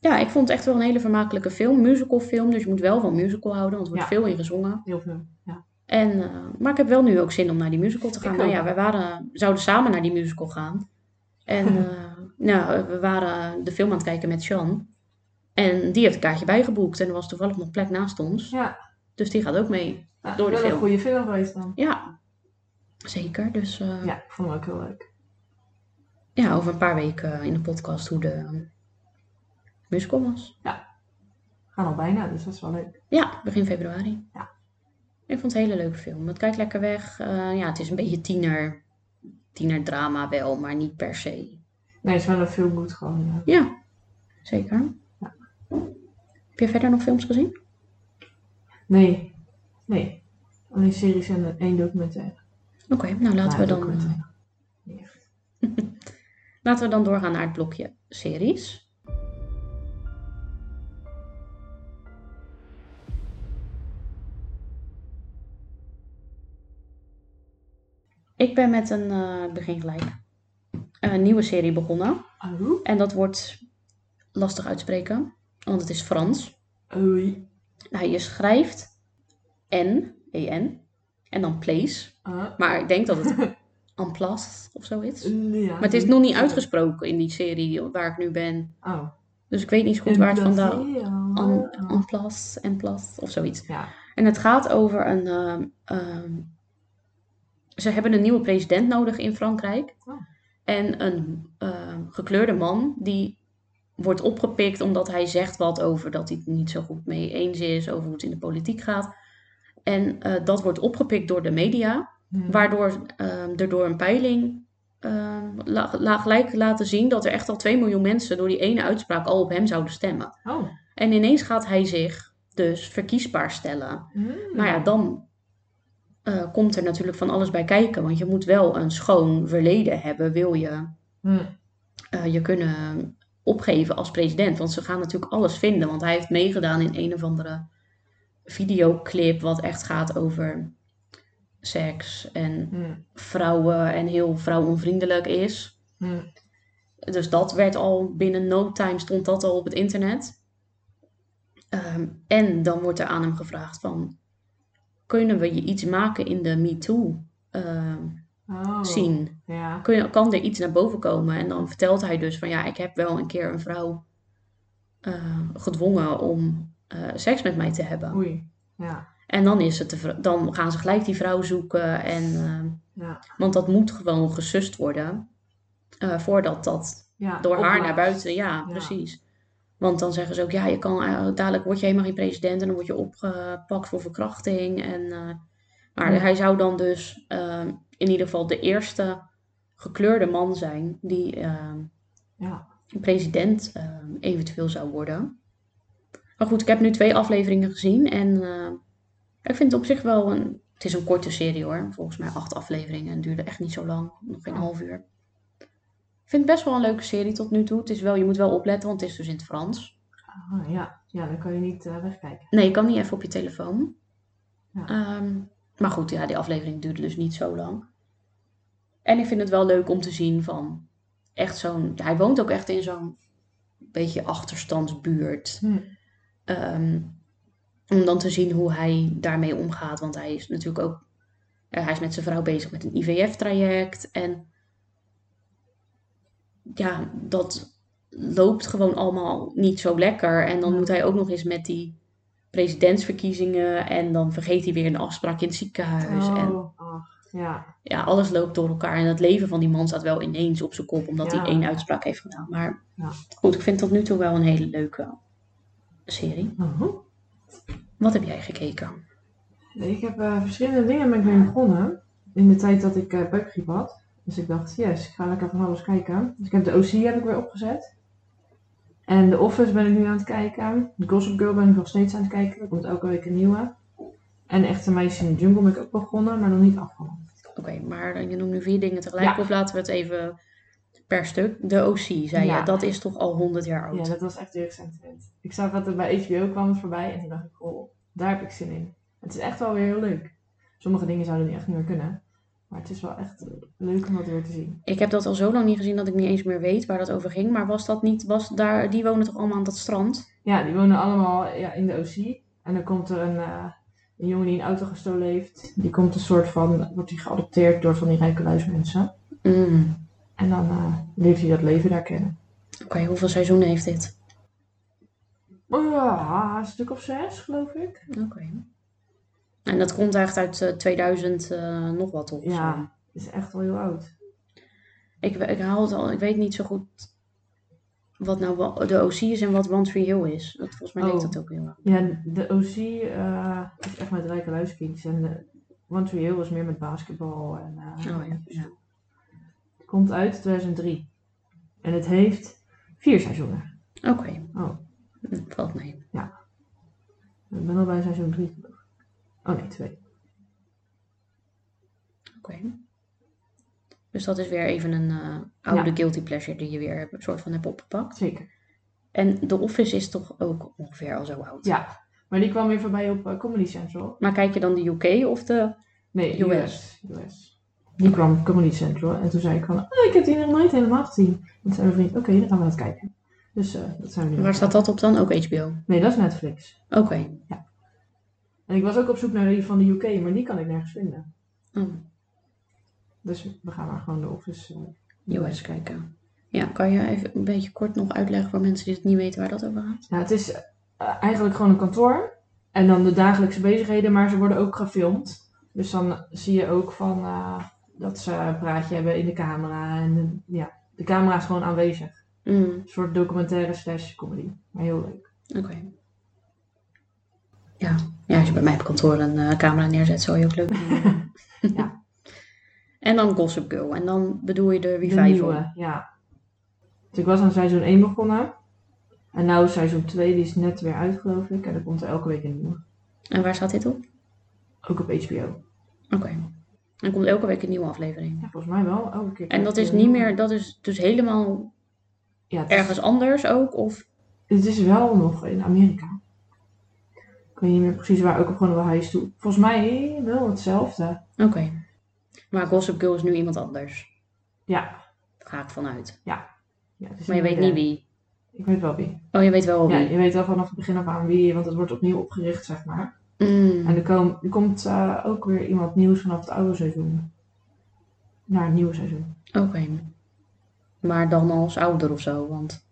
[SPEAKER 1] ja, ik vond het echt wel een hele vermakelijke film. Musical film. Dus je moet wel van musical houden. Want er wordt
[SPEAKER 2] Ja.
[SPEAKER 1] veel in gezongen.
[SPEAKER 2] Heel veel. Ja.
[SPEAKER 1] En, eh, maar ik heb wel nu ook zin om naar die musical te gaan.
[SPEAKER 2] Ik
[SPEAKER 1] Nou
[SPEAKER 2] ook.
[SPEAKER 1] ja, wij waren, zouden samen naar die musical gaan. En eh, nou, we waren de film aan het kijken met Sean. En die heeft een kaartje bijgeboekt. En er was toevallig nog plek naast ons.
[SPEAKER 2] Ja.
[SPEAKER 1] Dus die gaat ook mee.
[SPEAKER 2] Nou,
[SPEAKER 1] Door de
[SPEAKER 2] wel
[SPEAKER 1] film.
[SPEAKER 2] een goede film geweest dan.
[SPEAKER 1] Ja, zeker. Dus eh, ja.
[SPEAKER 2] Ja, ik vond hem ook heel leuk.
[SPEAKER 1] over een paar weken in de podcast hoe de eh, musical was.
[SPEAKER 2] We gaan al bijna, dus dat is wel leuk.
[SPEAKER 1] Ja, begin februari.
[SPEAKER 2] Ja.
[SPEAKER 1] Ik vond het een hele leuke film. Het kijkt lekker weg. Eh, ja, het is een beetje tiener, tienerdrama wel, maar niet per se.
[SPEAKER 2] Nee, het is wel een veel goed gewoon. ja.
[SPEAKER 1] Ja, zeker. Heb je verder nog films gezien?
[SPEAKER 2] Nee. Nee. Alleen series en één documentaire.
[SPEAKER 1] Oké, nou laten,
[SPEAKER 2] Ja,
[SPEAKER 1] we dan, eh,
[SPEAKER 2] documentaire. Nee, echt.
[SPEAKER 1] laten we dan doorgaan naar het blokje series. Ik ben met een, eh, ik begin gelijk, een nieuwe serie begonnen.
[SPEAKER 2] Oh.
[SPEAKER 1] En dat wordt lastig uitspreken, want het is Frans.
[SPEAKER 2] Oei.
[SPEAKER 1] Nou, je schrijft E N, E-N, en dan place.
[SPEAKER 2] Ah.
[SPEAKER 1] Maar ik denk dat het en place of zoiets.
[SPEAKER 2] Ja,
[SPEAKER 1] Maar het is nog niet uitgesproken in die serie waar ik nu ben.
[SPEAKER 2] Oh.
[SPEAKER 1] Dus ik weet niet zo goed waar het vandaan... En,
[SPEAKER 2] vandaan.
[SPEAKER 1] en place, en place of zoiets.
[SPEAKER 2] Ja.
[SPEAKER 1] En het gaat over een. ehm, ehm, ze hebben een nieuwe president nodig in Frankrijk.
[SPEAKER 2] Oh.
[SPEAKER 1] En een ehm, gekleurde man die wordt opgepikt omdat hij zegt wat over dat hij het niet zo goed mee eens is, over hoe het in de politiek gaat. En eh, dat wordt opgepikt door de media,
[SPEAKER 2] Hm.
[SPEAKER 1] waardoor ehm, er door een peiling ehm, la- la- gelijk laten zien dat er echt al 2 miljoen mensen door die ene uitspraak al op hem zouden stemmen.
[SPEAKER 2] Oh.
[SPEAKER 1] En ineens gaat hij zich dus verkiesbaar stellen.
[SPEAKER 2] Hm.
[SPEAKER 1] Maar Nou ja, dan eh, komt er natuurlijk van alles bij kijken. Want je moet wel een schoon verleden hebben, wil je
[SPEAKER 2] Hm.
[SPEAKER 1] eh, je kunnen opgeven als president. Want ze gaan natuurlijk alles vinden. Want hij heeft meegedaan in een of andere videoclip wat echt gaat over seks en
[SPEAKER 2] Hm.
[SPEAKER 1] vrouwen en heel vrouwonvriendelijk is.
[SPEAKER 2] Hm.
[SPEAKER 1] Dus dat werd al binnen no time stond dat al op het internet. Ehm, en dan wordt er aan hem gevraagd van, kunnen we je iets maken in de MeToo ehm
[SPEAKER 2] Oh.
[SPEAKER 1] zien?
[SPEAKER 2] Ja.
[SPEAKER 1] Kun- kan er iets naar boven komen? En dan vertelt hij dus van, ja, ik heb wel een keer een vrouw eh, gedwongen om eh, seks met mij te hebben.
[SPEAKER 2] Oei. Ja.
[SPEAKER 1] En dan, is het de vr- dan gaan ze gelijk die vrouw zoeken. En, ehm,
[SPEAKER 2] Ja.
[SPEAKER 1] want dat moet gewoon gesust worden eh, voordat dat
[SPEAKER 2] ja.
[SPEAKER 1] door haar
[SPEAKER 2] Opblaas.
[SPEAKER 1] naar buiten. Ja,
[SPEAKER 2] Ja.
[SPEAKER 1] precies. Want dan zeggen ze ook, ja, je kan, eh, dadelijk word je helemaal geen president en dan word je opgepakt voor verkrachting. En, eh, maar
[SPEAKER 2] Ja.
[SPEAKER 1] hij zou dan dus eh, in ieder geval de eerste gekleurde man zijn die eh,
[SPEAKER 2] Ja.
[SPEAKER 1] president eh, eventueel zou worden. Maar goed, ik heb nu twee afleveringen gezien en eh, ik vind het op zich wel een... Het is een korte serie hoor, volgens mij acht afleveringen. Het duurde echt niet zo lang, nog geen
[SPEAKER 2] Oh.
[SPEAKER 1] half uur. Ik vind het best wel een leuke serie tot nu toe. Het is wel, je moet wel opletten, want het is dus in het Frans.
[SPEAKER 2] Ah, ja. Ja, dan kan je niet eh, wegkijken.
[SPEAKER 1] Nee, je kan niet even op je telefoon.
[SPEAKER 2] Ja.
[SPEAKER 1] Ehm, maar goed, ja, die aflevering duurde dus niet zo lang. En ik vind het wel leuk om te zien van echt zo'n... Hij woont ook echt in zo'n beetje achterstandsbuurt.
[SPEAKER 2] Hm.
[SPEAKER 1] Ehm, om dan te zien hoe hij daarmee omgaat. Want hij is natuurlijk ook. eh, hij is met zijn vrouw bezig met een IVF-traject. En ja, dat loopt gewoon allemaal niet zo lekker. En dan
[SPEAKER 2] Ja.
[SPEAKER 1] moet hij ook nog eens met die presidentsverkiezingen. En dan vergeet hij weer een afspraak in het ziekenhuis. En
[SPEAKER 2] Oh. Ach. Ja.
[SPEAKER 1] ja, alles loopt door elkaar. En het leven van die man staat wel ineens op zijn kop. Omdat
[SPEAKER 2] Ja.
[SPEAKER 1] hij één uitspraak heeft gedaan. Maar
[SPEAKER 2] Ja.
[SPEAKER 1] goed, ik vind tot nu toe wel een hele leuke serie.
[SPEAKER 2] Mhm.
[SPEAKER 1] Wat heb jij gekeken?
[SPEAKER 2] Ik heb eh, verschillende dingen ben ik mee begonnen. In de tijd dat ik eh buikgriep had. Dus ik dacht, yes, ik ga lekker van alles kijken. Dus ik heb de OC heb ik weer opgezet. En The Office ben ik nu aan het kijken. Gossip Girl ben ik nog steeds aan het kijken. Er komt elke week een nieuwe. En Echte Meisje in de Jungle ben ik ook begonnen, maar nog niet afgerond.
[SPEAKER 1] Oké, maar je noemt nu vier dingen tegelijk.
[SPEAKER 2] Ja.
[SPEAKER 1] Of laten we het even per stuk. De OC, zei
[SPEAKER 2] Ja.
[SPEAKER 1] je. Dat is toch al 100 jaar
[SPEAKER 2] Ja,
[SPEAKER 1] oud.
[SPEAKER 2] dat was echt heel recent. Ik zag dat er bij HBO kwam het voorbij en toen dacht ik, oh, daar heb ik zin in. Het is echt wel weer heel leuk. Sommige dingen zouden nu echt niet meer kunnen. Maar het is wel echt eh, leuk om dat weer te zien.
[SPEAKER 1] Ik heb dat al zo lang niet gezien dat ik niet eens meer weet waar dat over ging. Maar was dat niet... Was daar, die wonen toch allemaal aan dat strand?
[SPEAKER 2] Ja, die wonen allemaal ja, in de OC. En dan komt er een, eh, een jongen die een auto gestolen heeft. Die komt een soort van, wordt hij geadopteerd door van die rijke luismensen.
[SPEAKER 1] Mm.
[SPEAKER 2] En dan eh, leert hij dat leven daar kennen.
[SPEAKER 1] Oké, hoeveel seizoenen heeft dit?
[SPEAKER 2] Oh ja, een stuk of zes, geloof ik.
[SPEAKER 1] Oké. En dat komt echt uit eh, 2000 eh, nog wat op. zo.
[SPEAKER 2] Ja, is echt wel heel oud.
[SPEAKER 1] Ik, we- ik haal het al... Ik weet niet zo goed wat nou wa- de OC is en wat One Tree Hill is. Dat, volgens mij leek
[SPEAKER 2] Oh.
[SPEAKER 1] dat ook heel erg.
[SPEAKER 2] Ja, de OC eh, is echt met rijke luiskids. En de One Tree Hill was meer met basketbal. En, eh,
[SPEAKER 1] Oh ja, ja.
[SPEAKER 2] Het komt uit 2003. En het heeft vier seizoenen.
[SPEAKER 1] Oké,
[SPEAKER 2] Oh.
[SPEAKER 1] Hm, valt mee.
[SPEAKER 2] Ik ben al bij seizoen 3 geloof ik. Oh nee, 2.
[SPEAKER 1] Oké. Dus dat is weer even een eh, oude
[SPEAKER 2] Ja.
[SPEAKER 1] guilty pleasure die je weer hebt- soort van hebt opgepakt.
[SPEAKER 2] Zeker.
[SPEAKER 1] En The Office is toch ook ongeveer al zo oud.
[SPEAKER 2] Ja. Maar die kwam weer voorbij op eh, Comedy Central.
[SPEAKER 1] Maar kijk je dan de UK of de...
[SPEAKER 2] Nee,
[SPEAKER 1] US.
[SPEAKER 2] US. US. Die kwam op Comedy Central. En toen zei ik van, oh, ik heb die nog nooit helemaal gezien. En toen zei mijn vriend, oké, dan gaan we dat kijken. Dus eh, dat zijn we nu. aan
[SPEAKER 1] Waar
[SPEAKER 2] het
[SPEAKER 1] staat dat op dan? Ook HBO.
[SPEAKER 2] kijken. Nee, dat is Netflix.
[SPEAKER 1] Oké.
[SPEAKER 2] En ik was ook op zoek naar die van de UK, maar die kan ik nergens vinden.
[SPEAKER 1] Oh.
[SPEAKER 2] Dus we gaan maar gewoon de Office eh,
[SPEAKER 1] US kijken. Ja, kan je even een beetje kort nog uitleggen voor mensen die het niet weten waar dat over gaat?
[SPEAKER 2] Nou, het is eh, eigenlijk gewoon een kantoor. En dan de dagelijkse bezigheden, maar ze worden ook gefilmd. Dus dan zie je ook van, eh, dat ze een praatje hebben in de camera. En de, ja, de camera is gewoon aanwezig.
[SPEAKER 1] Mm,
[SPEAKER 2] Een soort documentaire slash comedy. Maar heel leuk.
[SPEAKER 1] Oké. Ja. ja, als je bij mij op kantoor een eh, camera neerzet, zou je ook leuk vinden.
[SPEAKER 2] Ja.
[SPEAKER 1] En dan Gossip Girl. En dan bedoel je de
[SPEAKER 2] De
[SPEAKER 1] revival.
[SPEAKER 2] nieuwe, ja. Dus ik was aan seizoen 1 begonnen. En nou is seizoen 2, die is net weer uit geloof ik. En er komt er elke week een nieuwe.
[SPEAKER 1] en waar staat dit op?
[SPEAKER 2] Ook op HBO.
[SPEAKER 1] Oké. Dan komt elke week een nieuwe aflevering.
[SPEAKER 2] Ja, volgens mij wel. Elke keer.
[SPEAKER 1] En dat is niet meer, dat is dus helemaal
[SPEAKER 2] ja, het is-
[SPEAKER 1] ergens anders ook? Of
[SPEAKER 2] Het is wel nog in Amerika. Ik weet niet meer precies waar, ook op gewoon op de highs toe. Volgens mij wel hetzelfde.
[SPEAKER 1] Oké. Maar Gossip Girl is nu iemand anders.
[SPEAKER 2] Ja.
[SPEAKER 1] Daar ga ik vanuit.
[SPEAKER 2] ja het is
[SPEAKER 1] Maar je weet
[SPEAKER 2] meer-
[SPEAKER 1] niet wie.
[SPEAKER 2] Ik weet wel wie.
[SPEAKER 1] Oh, je weet wel wie.
[SPEAKER 2] Ja, je weet wel vanaf het begin af aan wie, want het wordt opnieuw opgericht, zeg maar.
[SPEAKER 1] Mm,
[SPEAKER 2] En er, kom- er komt eh, ook weer iemand nieuws vanaf het oude seizoen. Naar het nieuwe seizoen.
[SPEAKER 1] Oké. Maar dan als ouder of zo, want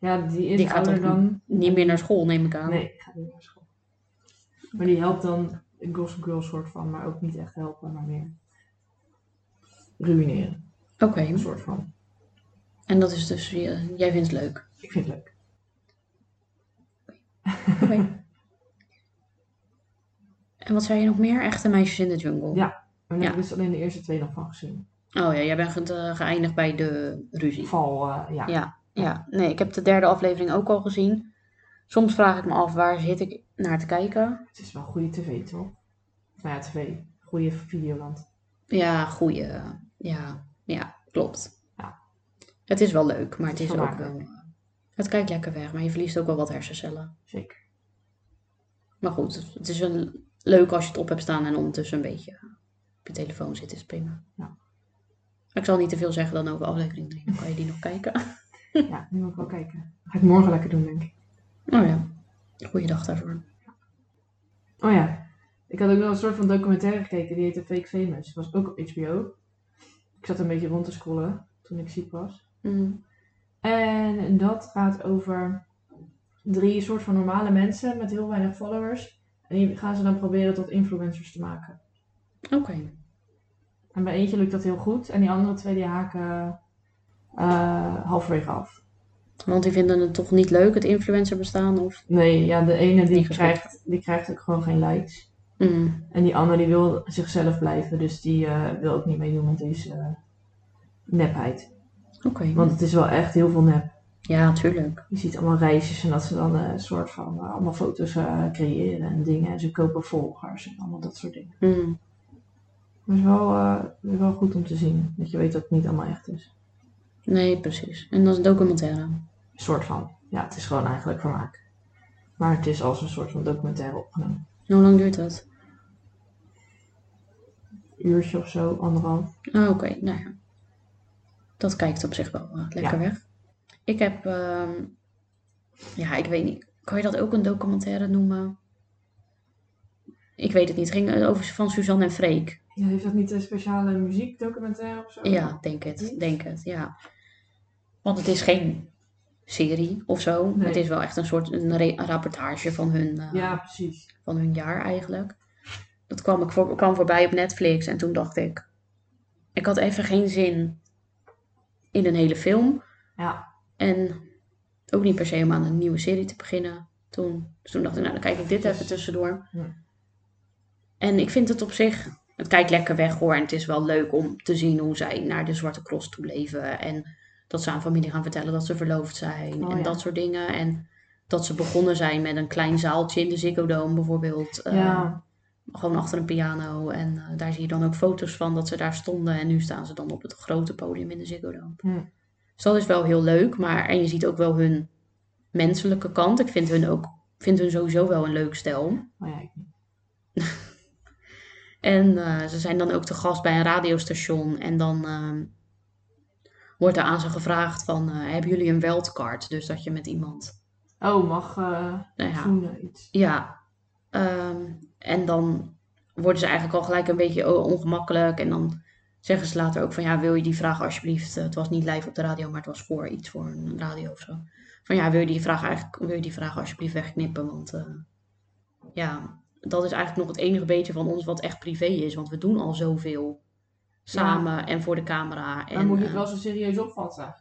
[SPEAKER 2] Ja, die is
[SPEAKER 1] Die gaat
[SPEAKER 2] ouder
[SPEAKER 1] ook
[SPEAKER 2] dan...
[SPEAKER 1] niet meer naar school neem ik aan.
[SPEAKER 2] Nee, ik ga niet naar school. Maar die helpt dan een Gossip Girl soort van, maar ook niet echt helpen, maar meer ruïneren,
[SPEAKER 1] Oké.
[SPEAKER 2] een soort van.
[SPEAKER 1] En dat is dus, je- jij vindt het leuk.
[SPEAKER 2] Ik vind het leuk.
[SPEAKER 1] Oké. en wat zei je nog meer? Echte meisjes in de jungle.
[SPEAKER 2] Ja. En daar
[SPEAKER 1] Ja.
[SPEAKER 2] heb ik dus alleen de eerste twee nog van gezien.
[SPEAKER 1] Oh ja, jij bent ge- eh, geëindigd bij de ruzie.
[SPEAKER 2] Val, eh, ja.
[SPEAKER 1] Ja. Ja, nee, ik heb de derde aflevering ook al gezien. Soms vraag ik me af, waar zit ik naar te kijken?
[SPEAKER 2] Het is wel goede tv, toch? Nou ja, tv. Goede videoland.
[SPEAKER 1] Ja, goeie. eh, Ja, ja klopt.
[SPEAKER 2] Ja.
[SPEAKER 1] Het is wel leuk, maar het is ook
[SPEAKER 2] Vermakelijk.
[SPEAKER 1] wel... eh, Het kijkt lekker weg, maar je verliest ook wel wat hersencellen.
[SPEAKER 2] Zeker.
[SPEAKER 1] Maar goed, het is een, leuk als je het op hebt staan en ondertussen een beetje op je telefoon zit, is prima.
[SPEAKER 2] Ja.
[SPEAKER 1] Ik zal niet te veel zeggen dan over aflevering 3, dan kan je die nog kijken. Hm.
[SPEAKER 2] Ja, nu moet ik wel kijken. Ga ik morgen lekker doen, denk ik.
[SPEAKER 1] Oh ja, goeie dag daarvoor.
[SPEAKER 2] Oh ja. Ik had ook wel een soort van documentaire gekeken. Die heette Fake Famous. Was ook op HBO. Ik zat een beetje rond te scrollen toen ik ziek was.
[SPEAKER 1] Mm,
[SPEAKER 2] En dat gaat over drie soort van normale mensen met heel weinig followers. En die gaan ze dan proberen tot influencers te maken.
[SPEAKER 1] Oké,
[SPEAKER 2] En bij eentje lukt dat heel goed. En die andere twee die haken eh, halverwege af.
[SPEAKER 1] want die vinden het toch niet leuk, het influencer bestaan of...
[SPEAKER 2] Nee, ja, de ene die
[SPEAKER 1] Niet geschikt.
[SPEAKER 2] krijgt, die krijgt ook gewoon geen likes.
[SPEAKER 1] Mm,
[SPEAKER 2] En die andere die wil zichzelf blijven. Dus die eh, wil ook niet meedoen met deze eh, nepheid.
[SPEAKER 1] Oké,
[SPEAKER 2] Want het is wel echt heel veel nep.
[SPEAKER 1] ja, tuurlijk.
[SPEAKER 2] Je ziet allemaal reisjes en dat ze dan eh, een soort van eh, allemaal foto's eh, creëren en dingen. En ze kopen volgers en allemaal dat soort dingen.
[SPEAKER 1] Mm,
[SPEAKER 2] Maar het is wel, eh, wel goed om te zien. Dat je weet dat het niet allemaal echt is.
[SPEAKER 1] Nee, precies. En dat is een documentaire.
[SPEAKER 2] Een soort van. Ja, het is gewoon eigenlijk vermaak. Maar het is als een soort van documentaire opgenomen.
[SPEAKER 1] En hoe lang duurt dat?
[SPEAKER 2] Een uurtje of zo, anderhalf.
[SPEAKER 1] Ah, oké, nou ja. Dat kijkt op zich wel eh, lekker
[SPEAKER 2] Ja.
[SPEAKER 1] weg. Ik heb, ehm, ja, ik weet niet. Kan je dat ook een documentaire noemen? Ik weet het niet. Het ging over van Suzanne en Freek.
[SPEAKER 2] Ja, heeft dat niet een speciale muziekdocumentaire of zo?
[SPEAKER 1] Ja, denk het.
[SPEAKER 2] Iets?
[SPEAKER 1] Denk het, ja. Want het is geen serie of zo.
[SPEAKER 2] Nee.
[SPEAKER 1] Het is wel echt een soort een re- een rapportage van hun, eh,
[SPEAKER 2] Ja, precies.
[SPEAKER 1] van hun jaar eigenlijk. Dat kwam, ik voor, kwam voorbij op Netflix en toen dacht ik... Ik had even geen zin in een hele film.
[SPEAKER 2] Ja,
[SPEAKER 1] En ook niet per se om aan een nieuwe serie te beginnen. Toen, dus toen dacht ik, nou dan kijk ik dit even tussendoor.
[SPEAKER 2] Ja.
[SPEAKER 1] En ik vind het op zich, het kijkt lekker weg hoor. En het is wel leuk om te zien hoe zij naar de Zwarte Cross toe leven. En dat ze aan familie gaan vertellen dat ze verloofd zijn.
[SPEAKER 2] Oh,
[SPEAKER 1] en
[SPEAKER 2] ja.
[SPEAKER 1] dat soort dingen. En dat ze begonnen zijn met een klein zaaltje in de Ziggo Dome bijvoorbeeld. Eh,
[SPEAKER 2] Ja.
[SPEAKER 1] gewoon achter een piano. En eh, daar zie je dan ook foto's van dat ze daar stonden. En nu staan ze dan op het grote podium in de Ziggo Dome.
[SPEAKER 2] Ja.
[SPEAKER 1] Dus dat is wel heel leuk. Maar, en je ziet ook wel hun menselijke kant. Ik vind hun, ook, vind hun sowieso wel een leuk stel.
[SPEAKER 2] maar Oh ja, ik niet.
[SPEAKER 1] En eh, ze zijn dan ook te gast bij een radiostation. En dan ehm, wordt er aan ze gevraagd van... eh, hebben jullie een wildcard? Dus dat je met iemand...
[SPEAKER 2] Oh, mag eh
[SPEAKER 1] Nou ja,
[SPEAKER 2] zoenen iets.
[SPEAKER 1] Ja, ehm, en dan worden ze eigenlijk al gelijk een beetje o- oh, ongemakkelijk. En dan Zeggen ze later ook van ja, wil je die vraag alsjeblieft, eh, het was niet live op de radio, maar het was voor iets voor een radio of zo. Van ja, wil je die vraag eigenlijk, wil je die vraag alsjeblieft wegknippen? Want eh, ja, dat is eigenlijk nog het enige beetje van ons wat echt privé is, want we doen al zoveel samen en voor de camera.
[SPEAKER 2] Dan
[SPEAKER 1] en,
[SPEAKER 2] moet je
[SPEAKER 1] eh,
[SPEAKER 2] het wel zo serieus opvatten.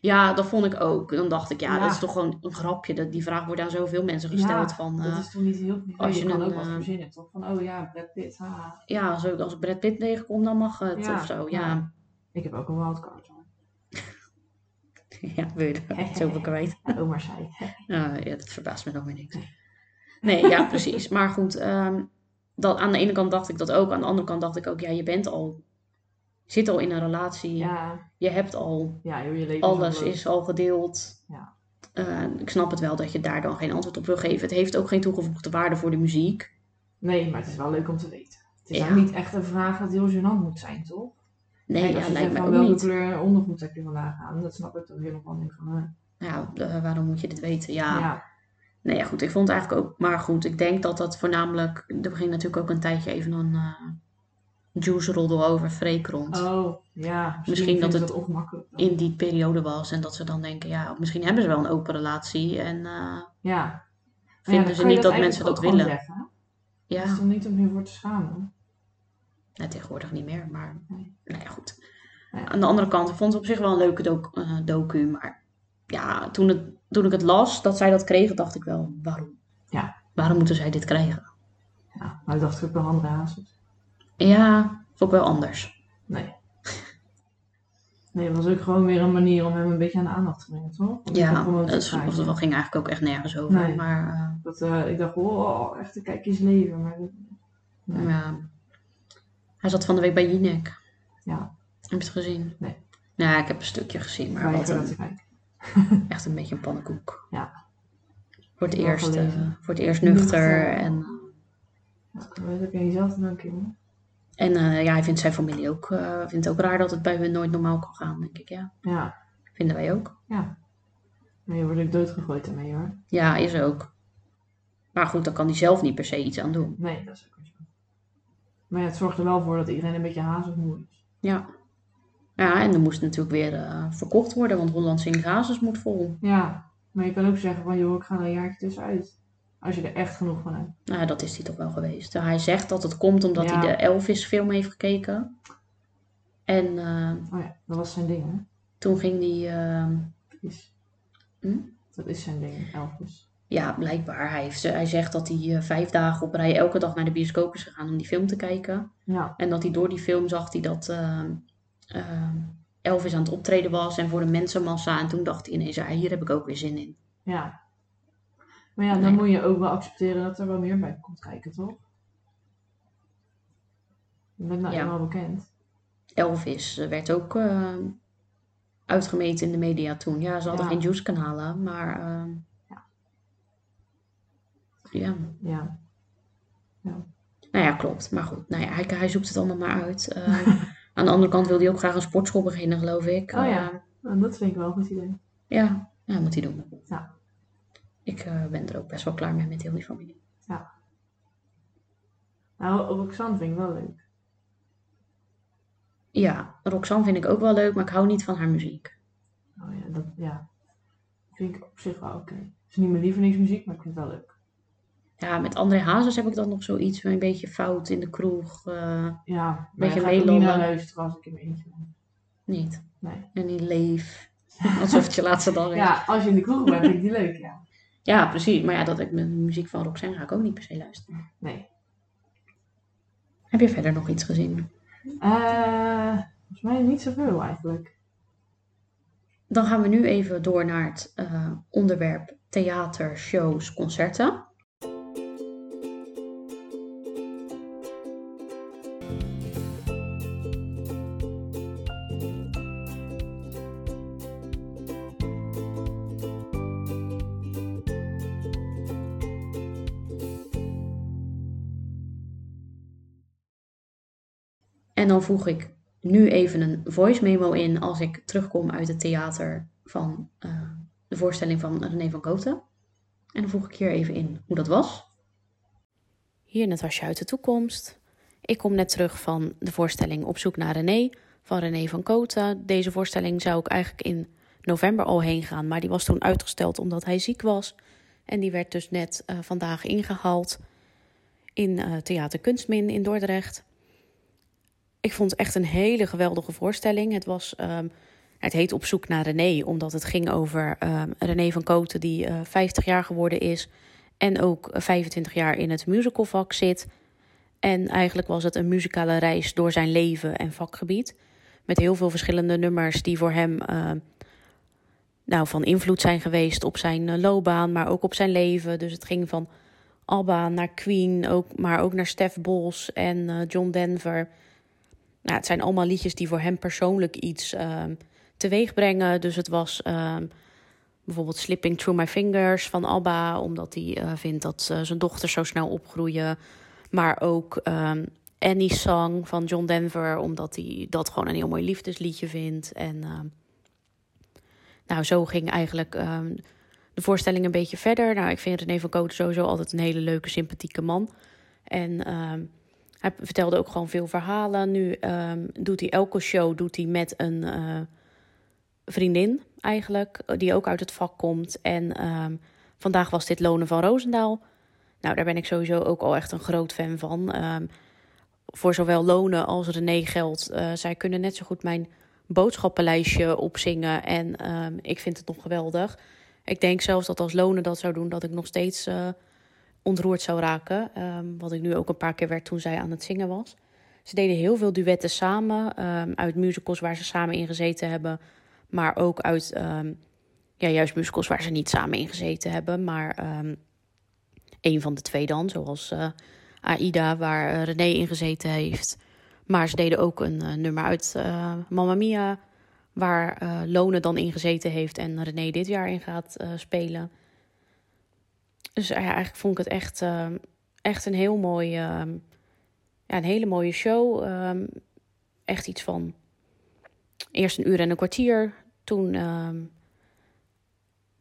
[SPEAKER 1] ja, dat vond ik ook. Dan dacht ik, ja,
[SPEAKER 2] Ja.
[SPEAKER 1] dat is toch gewoon een grapje. Dat, die vraag wordt aan zoveel mensen gesteld.
[SPEAKER 2] Ja,
[SPEAKER 1] van, eh,
[SPEAKER 2] dat is toch niet heel privé.
[SPEAKER 1] als
[SPEAKER 2] Als
[SPEAKER 1] je
[SPEAKER 2] je, kan
[SPEAKER 1] een,
[SPEAKER 2] ook wat
[SPEAKER 1] eh,
[SPEAKER 2] verzinnen, toch? Van, oh ja, Brad Pitt, haha.
[SPEAKER 1] ja, als, ik- als ik Brad Pitt tegenkom, dan mag het
[SPEAKER 2] Ja,
[SPEAKER 1] of zo. Ja,
[SPEAKER 2] ja. Ik heb ook een wildcard. hoor.
[SPEAKER 1] ja. wil je er iets over kwijt?
[SPEAKER 2] Omar zei.
[SPEAKER 1] Eh, ja, dat verbaast me nog weer niks. Nee, ja, precies. Maar goed, ehm, dat, aan de ene kant dacht ik dat ook. Aan de andere kant dacht ik ook, ja, je bent al... Zit al in een relatie.
[SPEAKER 2] Ja,
[SPEAKER 1] Je hebt al...
[SPEAKER 2] ja joh, je leven
[SPEAKER 1] Alles
[SPEAKER 2] ook-
[SPEAKER 1] is al gedeeld.
[SPEAKER 2] Ja.
[SPEAKER 1] Eh, ik snap het wel dat je daar dan geen antwoord op wil geven. Het heeft ook geen toegevoegde waarde voor de muziek.
[SPEAKER 2] Nee, maar het is wel leuk om te weten. Het is
[SPEAKER 1] Ja.
[SPEAKER 2] nou niet echt een vraag dat heel gênant moet zijn, toch?
[SPEAKER 1] Nee,
[SPEAKER 2] Kijk, als
[SPEAKER 1] ja,
[SPEAKER 2] je
[SPEAKER 1] lijkt
[SPEAKER 2] zegt
[SPEAKER 1] mij
[SPEAKER 2] van
[SPEAKER 1] ook
[SPEAKER 2] welke
[SPEAKER 1] niet.
[SPEAKER 2] kleur ondergoed heb je vandaag aan, dat snap ik toch helemaal niet van. eh,
[SPEAKER 1] Ja, eh, waarom moet je dit weten? Ja.
[SPEAKER 2] ja.
[SPEAKER 1] Nee, ja, goed. Ik vond het eigenlijk ook... Maar goed, ik denk dat dat voornamelijk... Er ging natuurlijk ook een tijdje even een eh juice-roddel over Freek rond.
[SPEAKER 2] Oh, ja. Misschien,
[SPEAKER 1] Misschien dat
[SPEAKER 2] vindt
[SPEAKER 1] het
[SPEAKER 2] dat ongemakkelijk. dan.
[SPEAKER 1] In die periode was. En dat ze dan denken, ja, misschien hebben ze wel een open relatie. En eh,
[SPEAKER 2] Ja.
[SPEAKER 1] vinden
[SPEAKER 2] Ja, dan
[SPEAKER 1] ze
[SPEAKER 2] kan je
[SPEAKER 1] niet dat mensen
[SPEAKER 2] eigenlijk
[SPEAKER 1] dat
[SPEAKER 2] ook gewoon
[SPEAKER 1] willen.
[SPEAKER 2] zeggen, hè?
[SPEAKER 1] Ja,
[SPEAKER 2] Het is toch niet om je voor te schamen?
[SPEAKER 1] nou, tegenwoordig niet meer. Maar
[SPEAKER 2] Nee.
[SPEAKER 1] nou ja, goed.
[SPEAKER 2] Ja.
[SPEAKER 1] Aan de andere kant, ik vond het op zich wel een leuke docu. docu maar ja, toen, het, toen ik het las, dat zij dat kregen, dacht ik wel, waarom?
[SPEAKER 2] Ja.
[SPEAKER 1] Waarom moeten zij dit krijgen?
[SPEAKER 2] Ja, maar dat dacht ik ook bij andere hazes.
[SPEAKER 1] Ja, vond ik wel anders.
[SPEAKER 2] Nee. Nee, dat was ook gewoon weer een manier om hem een beetje aan de aandacht te brengen, toch? Om
[SPEAKER 1] Ja,
[SPEAKER 2] hem gewoon te
[SPEAKER 1] dat, is- of
[SPEAKER 2] krijgen.
[SPEAKER 1] dat ging eigenlijk ook echt nergens over.
[SPEAKER 2] Nee.
[SPEAKER 1] Maar eh,
[SPEAKER 2] Dat, eh, ik dacht, oh, echt een kijkjes leven. Maar dat- Nee.
[SPEAKER 1] ja. hij zat van de week bij Jinek.
[SPEAKER 2] Ja.
[SPEAKER 1] Heb je het gezien?
[SPEAKER 2] Nee.
[SPEAKER 1] Nou, ik heb een stukje gezien, maar
[SPEAKER 2] weiger
[SPEAKER 1] wat
[SPEAKER 2] dat
[SPEAKER 1] een,
[SPEAKER 2] te kijken.
[SPEAKER 1] echt een beetje een pannenkoek.
[SPEAKER 2] Ja.
[SPEAKER 1] Voor het,
[SPEAKER 2] Ik heb wel
[SPEAKER 1] eerst, eh,
[SPEAKER 2] gelezen.
[SPEAKER 1] voor het eerst nuchter.
[SPEAKER 2] Nuchter.
[SPEAKER 1] En,
[SPEAKER 2] Ja, maar dat kan je zelf dan ook in. hoor.
[SPEAKER 1] en eh, ja, hij vindt zijn familie ook, eh, vindt ook raar dat het bij hun nooit normaal kan gaan, denk ik. Ja,
[SPEAKER 2] Ja,
[SPEAKER 1] vinden wij ook.
[SPEAKER 2] maar je wordt ook doodgegooid daarmee hoor.
[SPEAKER 1] Ja, is ook. Maar goed, daar kan hij zelf niet per se iets aan doen.
[SPEAKER 2] Nee, dat is ook weer zo. Maar ja, het zorgt er wel voor dat iedereen een beetje hazigmoe is.
[SPEAKER 1] Ja. Ja, en er moest natuurlijk weer eh, verkocht worden, want Holland Sint-Gazes moet vol.
[SPEAKER 2] Ja, maar je kan ook zeggen van, joh, ik ga er een jaartje tussenuit. Als je er echt genoeg van hebt.
[SPEAKER 1] Nou, dat is hij toch wel geweest. Hij zegt dat het komt omdat
[SPEAKER 2] Ja.
[SPEAKER 1] hij de Elvis-film heeft gekeken. En eh,
[SPEAKER 2] Oh ja, dat was zijn ding hè.
[SPEAKER 1] toen ging hij, eh,
[SPEAKER 2] Is.
[SPEAKER 1] Hm?
[SPEAKER 2] Dat is zijn ding, Elvis.
[SPEAKER 1] ja, blijkbaar. Hij, heeft, hij zegt dat hij eh, vijf dagen op rij elke dag naar de bioscoop is gegaan om die film te kijken.
[SPEAKER 2] Ja,
[SPEAKER 1] En dat hij door die film zag hij dat eh, eh, Elvis aan het optreden was en voor de mensenmassa. En toen dacht hij ineens, ja, hier heb ik ook weer zin in.
[SPEAKER 2] ja. Maar ja, dan
[SPEAKER 1] Nee.
[SPEAKER 2] moet je ook wel accepteren dat er wel meer bij komt kijken, toch? Je bent nou
[SPEAKER 1] Ja.
[SPEAKER 2] eenmaal bekend.
[SPEAKER 1] Elvis eh, werd ook eh, uitgemeten in de media toen. Ja, ze hadden
[SPEAKER 2] Ja.
[SPEAKER 1] geen juice-kanalen, maar. eh, ja.
[SPEAKER 2] Ja,
[SPEAKER 1] nou ja, klopt. Maar goed, nou ja, hij, hij zoekt het allemaal maar uit. Eh, aan de andere kant wil hij ook graag een sportschool beginnen, geloof ik.
[SPEAKER 2] Oh ja.
[SPEAKER 1] Eh,
[SPEAKER 2] en dat vind ik wel een goed idee.
[SPEAKER 1] ja, nou, moet hij doen.
[SPEAKER 2] Ja.
[SPEAKER 1] Ik eh, ben er ook best wel klaar mee met heel die familie.
[SPEAKER 2] Nou, Roxanne vind ik wel leuk.
[SPEAKER 1] Ja, Roxanne vind ik ook wel leuk, maar ik hou niet van haar muziek.
[SPEAKER 2] Oh ja, dat ja. vind ik op zich wel oké. Het is niet mijn lievelingsmuziek, maar ik vind het wel leuk.
[SPEAKER 1] Ja, met André Hazes heb ik dan nog zoiets, een beetje fout in de kroeg. eh,
[SPEAKER 2] Ja, maar
[SPEAKER 1] Beetje
[SPEAKER 2] ik ga ik ook niet
[SPEAKER 1] meelullen.
[SPEAKER 2] naar luisteren als ik in mijn eentje ben.
[SPEAKER 1] Niet.
[SPEAKER 2] Nee.
[SPEAKER 1] En die leef. Alsof het je laatste dag is. Ja.
[SPEAKER 2] Ja, als je in de kroeg bent, vind ik die leuk, ja.
[SPEAKER 1] precies. Maar ja, dat ik met muziek van Roxanne ga ik ook niet per se luisteren.
[SPEAKER 2] Nee.
[SPEAKER 1] Heb je verder nog iets gezien?
[SPEAKER 2] Eh, volgens mij niet zoveel eigenlijk.
[SPEAKER 1] Dan gaan we nu even door naar het eh, onderwerp theater, shows, concerten. En dan voeg ik nu even een voice memo in als ik terugkom uit het theater van eh, de voorstelling van René van Koten. En dan voeg ik hier even in hoe dat was. Hier net was je uit de toekomst. Ik kom net terug van de voorstelling Op zoek naar René
[SPEAKER 3] van René van Koten. Deze voorstelling zou ik eigenlijk in november al heen gaan, maar die was toen uitgesteld omdat hij ziek was. En die werd dus net eh, vandaag ingehaald in eh Theater Kunstmin in Dordrecht. Ik vond het echt een hele geweldige voorstelling. Het was ehm, het heet Op zoek naar René, omdat het ging over ehm, René van Koten, die eh, 50 jaar geworden is en ook 25 jaar in het musicalvak zit. En eigenlijk was het een muzikale reis door zijn leven en vakgebied. Met heel veel verschillende nummers die voor hem ehm, nou, van invloed zijn geweest op zijn eh, loopbaan, maar ook op zijn leven. Dus het ging van Alba naar Queen, ook, maar ook naar Stef Bos en eh, John Denver. Nou, het zijn allemaal liedjes die voor hem persoonlijk iets ehm teweeg brengen. Dus het was ehm, bijvoorbeeld Slipping Through My Fingers van Alba, omdat hij eh, vindt dat eh, zijn dochters zo snel opgroeien. Maar ook ehm Annie's Song van John Denver, omdat hij dat gewoon een heel mooi liefdesliedje vindt. En ehm, nou, zo ging eigenlijk ehm, de voorstelling een beetje verder. Nou, ik vind René van Kooten sowieso altijd een hele leuke, sympathieke man. En ehm, hij vertelde ook gewoon veel verhalen. Nu ehm, doet hij elke show doet hij met een eh, vriendin eigenlijk, eh, die ook uit het vak komt. En ehm, vandaag was dit Lonen van Roosendaal. Nou, daar ben ik sowieso ook al echt een groot fan van. Ehm, voor zowel Lonen als René geldt, eh, zij kunnen net zo goed mijn boodschappenlijstje opzingen. En ehm, ik vind het nog geweldig. Ik denk zelfs dat als Lonen dat zou doen, dat ik nog steeds eh, ontroerd zou raken. Ehm, wat ik nu ook een paar keer werd toen zij aan het zingen was. Ze deden heel veel duetten samen, ehm, uit musicals waar ze samen in gezeten hebben. Maar ook uit ehm, ja, juist musicals waar ze niet samen in gezeten hebben. Maar ehm een van de twee dan, zoals eh, Aida, waar eh, René in gezeten heeft. Maar ze deden ook een eh, nummer uit eh, Mamma Mia, waar eh Lone dan in gezeten heeft en René dit jaar in gaat eh, spelen. Dus eh, ja, eigenlijk vond ik het echt, eh, echt een heel mooi, eh, ja, een hele mooie show. eh, echt iets van eerst een uur en een kwartier, toen ehm,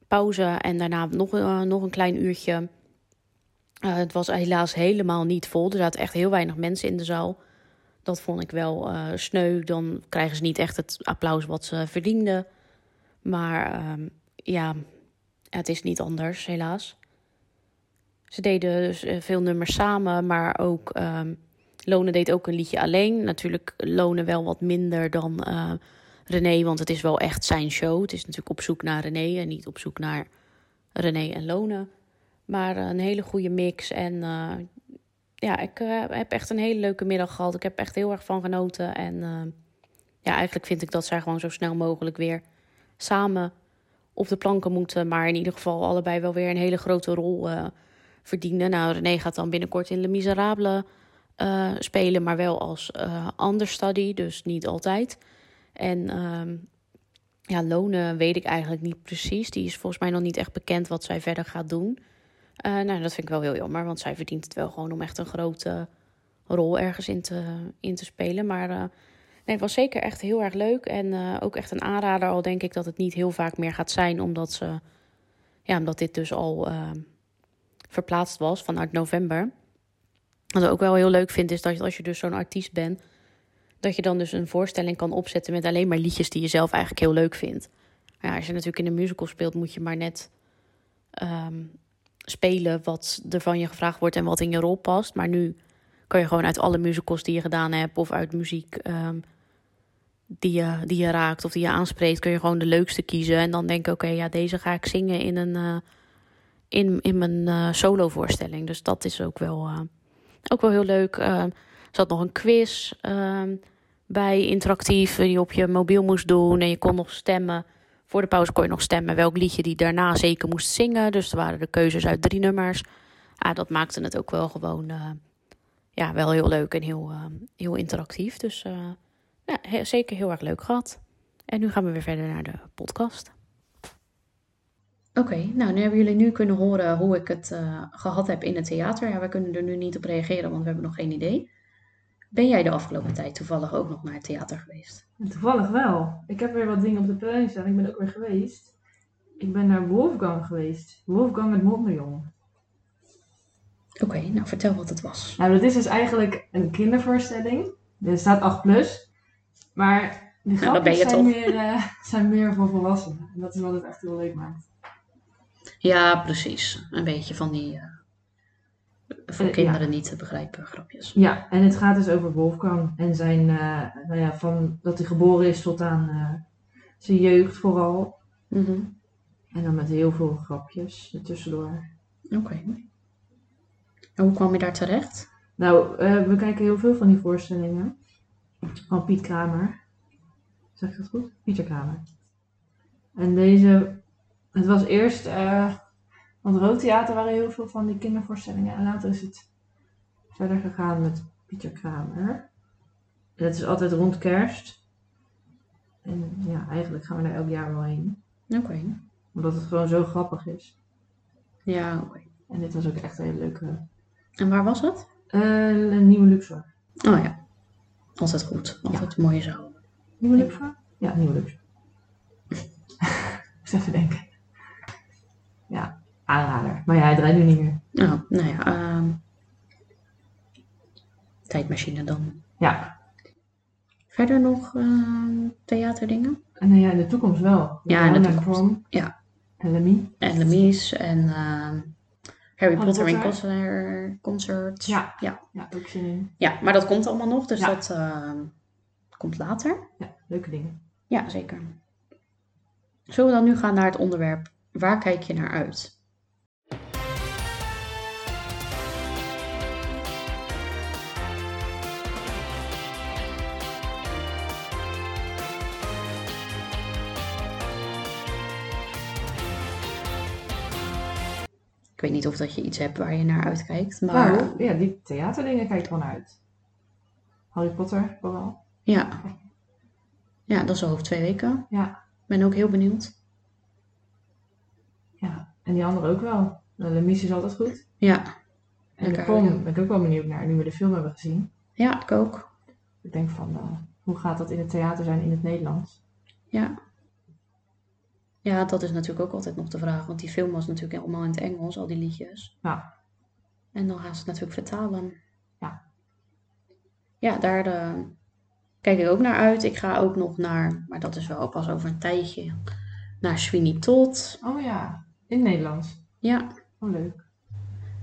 [SPEAKER 3] pauze en daarna nog, eh, nog een klein uurtje. Eh, het was helaas helemaal niet vol. Er zaten echt heel weinig mensen in de zaal. Dat vond ik wel eh, sneu. Dan krijgen ze niet echt het applaus wat ze verdienden. Maar ehm, ja, het is niet anders, helaas. Ze deden dus eh, veel nummers samen, maar ook ehm Lone deed ook een liedje alleen. Natuurlijk Lone wel wat minder dan eh, René, want het is wel echt zijn show. Het is natuurlijk op zoek naar René en niet op zoek naar René en Lone. Maar eh, een hele goede mix. En eh, ja, ik eh, heb echt een hele leuke middag gehad. Ik heb echt heel erg van genoten. En eh, ja, eigenlijk vind ik dat zij gewoon zo snel mogelijk weer samen op de planken moeten. Maar in ieder geval allebei wel weer een hele grote rol eh, verdienen. Nou, René gaat dan binnenkort in Le Miserable eh, spelen. Maar wel als eh understudy, dus niet altijd. En ehm, ja, lonen weet ik eigenlijk niet precies. Die is volgens mij nog niet echt bekend wat zij verder gaat doen. Eh, nou, dat vind ik wel heel jammer, want zij verdient het wel gewoon om echt een grote rol ergens in te, in te spelen. Maar eh, nee, het was zeker echt heel erg leuk en eh, ook echt een aanrader. Al denk ik dat het niet heel vaak meer gaat zijn, omdat, ze, ja, omdat dit dus al eh, verplaatst was vanuit november. Wat ik ook wel heel leuk vind, is dat als je dus zo'n artiest bent, dat je dan dus een voorstelling kan opzetten met alleen maar liedjes die je zelf eigenlijk heel leuk vindt. Maar ja, als je natuurlijk in een musical speelt, moet je maar net ehm, spelen wat er van je gevraagd wordt en wat in je rol past. Maar nu kan je gewoon uit alle musicals die je gedaan hebt of uit muziek ehm, die, je, die je raakt of die je aanspreekt, kun je gewoon de leukste kiezen. En dan denken, oké, ja, deze ga ik zingen in, een, eh, in, in mijn eh solovoorstelling. Dus dat is ook wel, eh, ook wel heel leuk. Ehm, er zat nog een quiz ehm, bij interactief eh, die je op je mobiel moest doen. En je kon nog stemmen. Voor de pauze kon je nog stemmen welk liedje die daarna zeker moest zingen. Dus er waren de keuzes uit drie nummers. Ah, dat maakte het ook wel gewoon eh, ja, wel heel leuk en heel, eh, heel interactief. Dus eh, ja, he- zeker heel erg leuk gehad. En nu gaan we weer verder naar de podcast.
[SPEAKER 1] Oké, nou, nu hebben jullie nu kunnen horen hoe ik het eh, gehad heb in het theater. Ja, we kunnen er nu niet op reageren, want we hebben nog geen idee. Ben jij de afgelopen tijd toevallig ook nog naar het theater geweest?
[SPEAKER 2] Toevallig wel. Ik heb weer wat dingen op de planning staan. Ik ben ook weer geweest. Ik ben naar Wolfgang geweest. Wolfgang het Mondriaan.
[SPEAKER 1] Oké, nou, vertel wat het was.
[SPEAKER 2] Nou, dat is dus eigenlijk een kindervoorstelling. Er staat 8 plus. Maar de
[SPEAKER 1] dan ben
[SPEAKER 2] grapjes
[SPEAKER 1] je
[SPEAKER 2] zijn,
[SPEAKER 1] toch.
[SPEAKER 2] meer, eh, zijn meer voor volwassenen. En dat is wat het echt heel leuk maakt.
[SPEAKER 1] Ja, precies. Een beetje van die eh, voor
[SPEAKER 2] Eh,
[SPEAKER 1] kinderen niet te begrijpen grapjes.
[SPEAKER 2] Ja, en het gaat dus over Wolfgang en zijn, eh, nou ja, van dat hij geboren is tot aan eh, zijn jeugd vooral.
[SPEAKER 1] Mhm.
[SPEAKER 2] En dan met heel veel grapjes ertussendoor.
[SPEAKER 1] Oké. En hoe kwam je daar terecht?
[SPEAKER 2] Nou, eh, we kijken heel veel van die voorstellingen. Van Piet Kramer. Zeg ik dat goed? Pieter Kramer. En deze, het was eerst, eh want Roodtheater waren heel veel van die kindervoorstellingen. En later is het verder gegaan met Pieter Kramer. En het is altijd rond kerst. En ja, eigenlijk gaan we daar elk jaar wel heen.
[SPEAKER 1] Oké.
[SPEAKER 2] Omdat het gewoon zo grappig is.
[SPEAKER 1] Ja, oké.
[SPEAKER 2] En dit was ook echt een hele leuke.
[SPEAKER 1] En waar was het?
[SPEAKER 2] eh een nieuwe Luxor.
[SPEAKER 1] Oh ja. Altijd goed. Altijd mooie zaal.
[SPEAKER 2] Nieuwe Luxor? Ja, nieuwe Luxor. Moest even denken. Ja, aanrader. Maar ja, hij draait nu niet meer.
[SPEAKER 1] Nou, nou ja. ehm, tijdmachine dan.
[SPEAKER 2] Ja,
[SPEAKER 1] Verder nog ehm, theaterdingen?
[SPEAKER 2] en nou ja, in de toekomst wel. Met
[SPEAKER 1] Ja, in de
[SPEAKER 2] Anna en
[SPEAKER 1] toekomst.
[SPEAKER 2] Prom
[SPEAKER 1] Ja.
[SPEAKER 2] En Lemmy.
[SPEAKER 1] En Lemies en ehm, Harry
[SPEAKER 2] Harry
[SPEAKER 1] Potter, en
[SPEAKER 2] Potter.
[SPEAKER 1] concert, concerts.
[SPEAKER 2] Ja.
[SPEAKER 1] ja.
[SPEAKER 2] Ja, ook zin in.
[SPEAKER 1] Ja, maar dat komt allemaal nog, dus
[SPEAKER 2] Ja.
[SPEAKER 1] dat ehm, komt later.
[SPEAKER 2] Ja, leuke dingen.
[SPEAKER 1] Ja, zeker. Zullen we dan nu gaan naar het onderwerp waar kijk je naar uit? Ik weet niet of dat je iets hebt waar je naar uitkijkt, maar
[SPEAKER 2] Nou, ja, die theaterdingen kijk ik gewoon uit. Harry Potter vooral.
[SPEAKER 1] ja. Ja, dat is al over twee weken.
[SPEAKER 2] Ja.
[SPEAKER 1] Ben ook heel benieuwd.
[SPEAKER 2] Ja, en die andere ook wel. Nou, Lemmy is altijd goed.
[SPEAKER 1] Ja,
[SPEAKER 2] En de
[SPEAKER 1] Lekker,
[SPEAKER 2] Prom
[SPEAKER 1] ja.
[SPEAKER 2] ben ik ook wel benieuwd naar, nu we de film hebben gezien.
[SPEAKER 1] ja, ik ook.
[SPEAKER 2] Ik denk van, eh, hoe gaat dat in het theater zijn in het Nederlands?
[SPEAKER 1] Ja. Ja, dat is natuurlijk ook altijd nog de vraag. Want die film was natuurlijk allemaal in het Engels, al die liedjes.
[SPEAKER 2] Ja.
[SPEAKER 1] En dan gaan ze het natuurlijk vertalen.
[SPEAKER 2] Ja.
[SPEAKER 1] Ja, daar eh, kijk ik ook naar uit. Ik ga ook nog naar, maar dat is wel pas over een tijdje, naar Sweeney Todd.
[SPEAKER 2] Oh ja, in het Nederlands.
[SPEAKER 1] Ja.
[SPEAKER 2] Oh, leuk.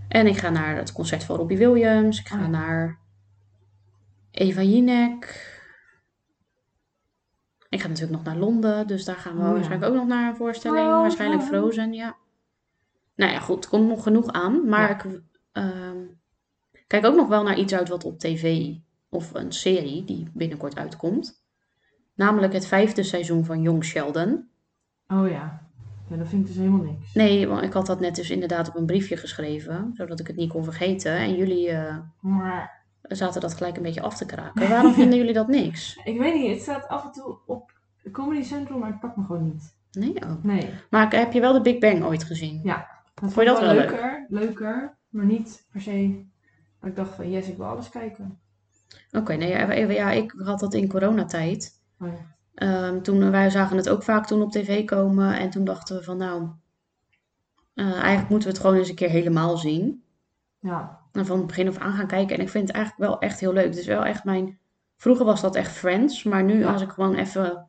[SPEAKER 1] En ik ga naar het concert van Robbie Williams. Ik ga
[SPEAKER 2] Oh ja.
[SPEAKER 1] naar Eva Jinek. Ik ga natuurlijk nog naar Londen, dus daar gaan we
[SPEAKER 2] Oh ja.
[SPEAKER 1] waarschijnlijk ook nog naar een voorstelling.
[SPEAKER 2] Oh,
[SPEAKER 1] waarschijnlijk
[SPEAKER 2] ja.
[SPEAKER 1] Frozen, ja. Nou ja, goed, er komt nog genoeg aan. Maar
[SPEAKER 2] Ja.
[SPEAKER 1] ik ehm, kijk ook nog wel naar iets uit wat op tv of een serie die binnenkort uitkomt. Namelijk het vijfde seizoen van Young Sheldon.
[SPEAKER 2] Oh ja. ja, dat vind ik dus helemaal niks.
[SPEAKER 1] Nee, want ik had dat net dus inderdaad op een briefje geschreven, zodat ik het niet kon vergeten. En jullie eh,
[SPEAKER 2] Maar
[SPEAKER 1] zaten dat gelijk een beetje af te kraken. Waarom vinden jullie dat niks?
[SPEAKER 2] ik weet niet, het staat af en toe op Comedy Central, maar het pakt me gewoon niet.
[SPEAKER 1] Nee, ook.
[SPEAKER 2] Nee.
[SPEAKER 1] Maar heb je wel de Big Bang ooit gezien?
[SPEAKER 2] Dat
[SPEAKER 1] Vond je dat wel leuk?
[SPEAKER 2] leuker? Leuker, maar niet per se. dat Ik dacht van, yes, ik wil alles kijken.
[SPEAKER 1] Oké, nee, ja, even- ja, ik had dat in coronatijd.
[SPEAKER 2] Oh ja.
[SPEAKER 1] Ehm, toen, wij zagen het ook vaak toen op tv komen. En toen dachten we van nou, eh, eigenlijk moeten we het gewoon eens een keer helemaal zien.
[SPEAKER 2] Ja,
[SPEAKER 1] En van begin af aan gaan kijken. En ik vind het eigenlijk wel echt heel leuk. Het is wel echt mijn... Vroeger was dat echt Friends. Maar nu
[SPEAKER 2] Ja.
[SPEAKER 1] als ik gewoon even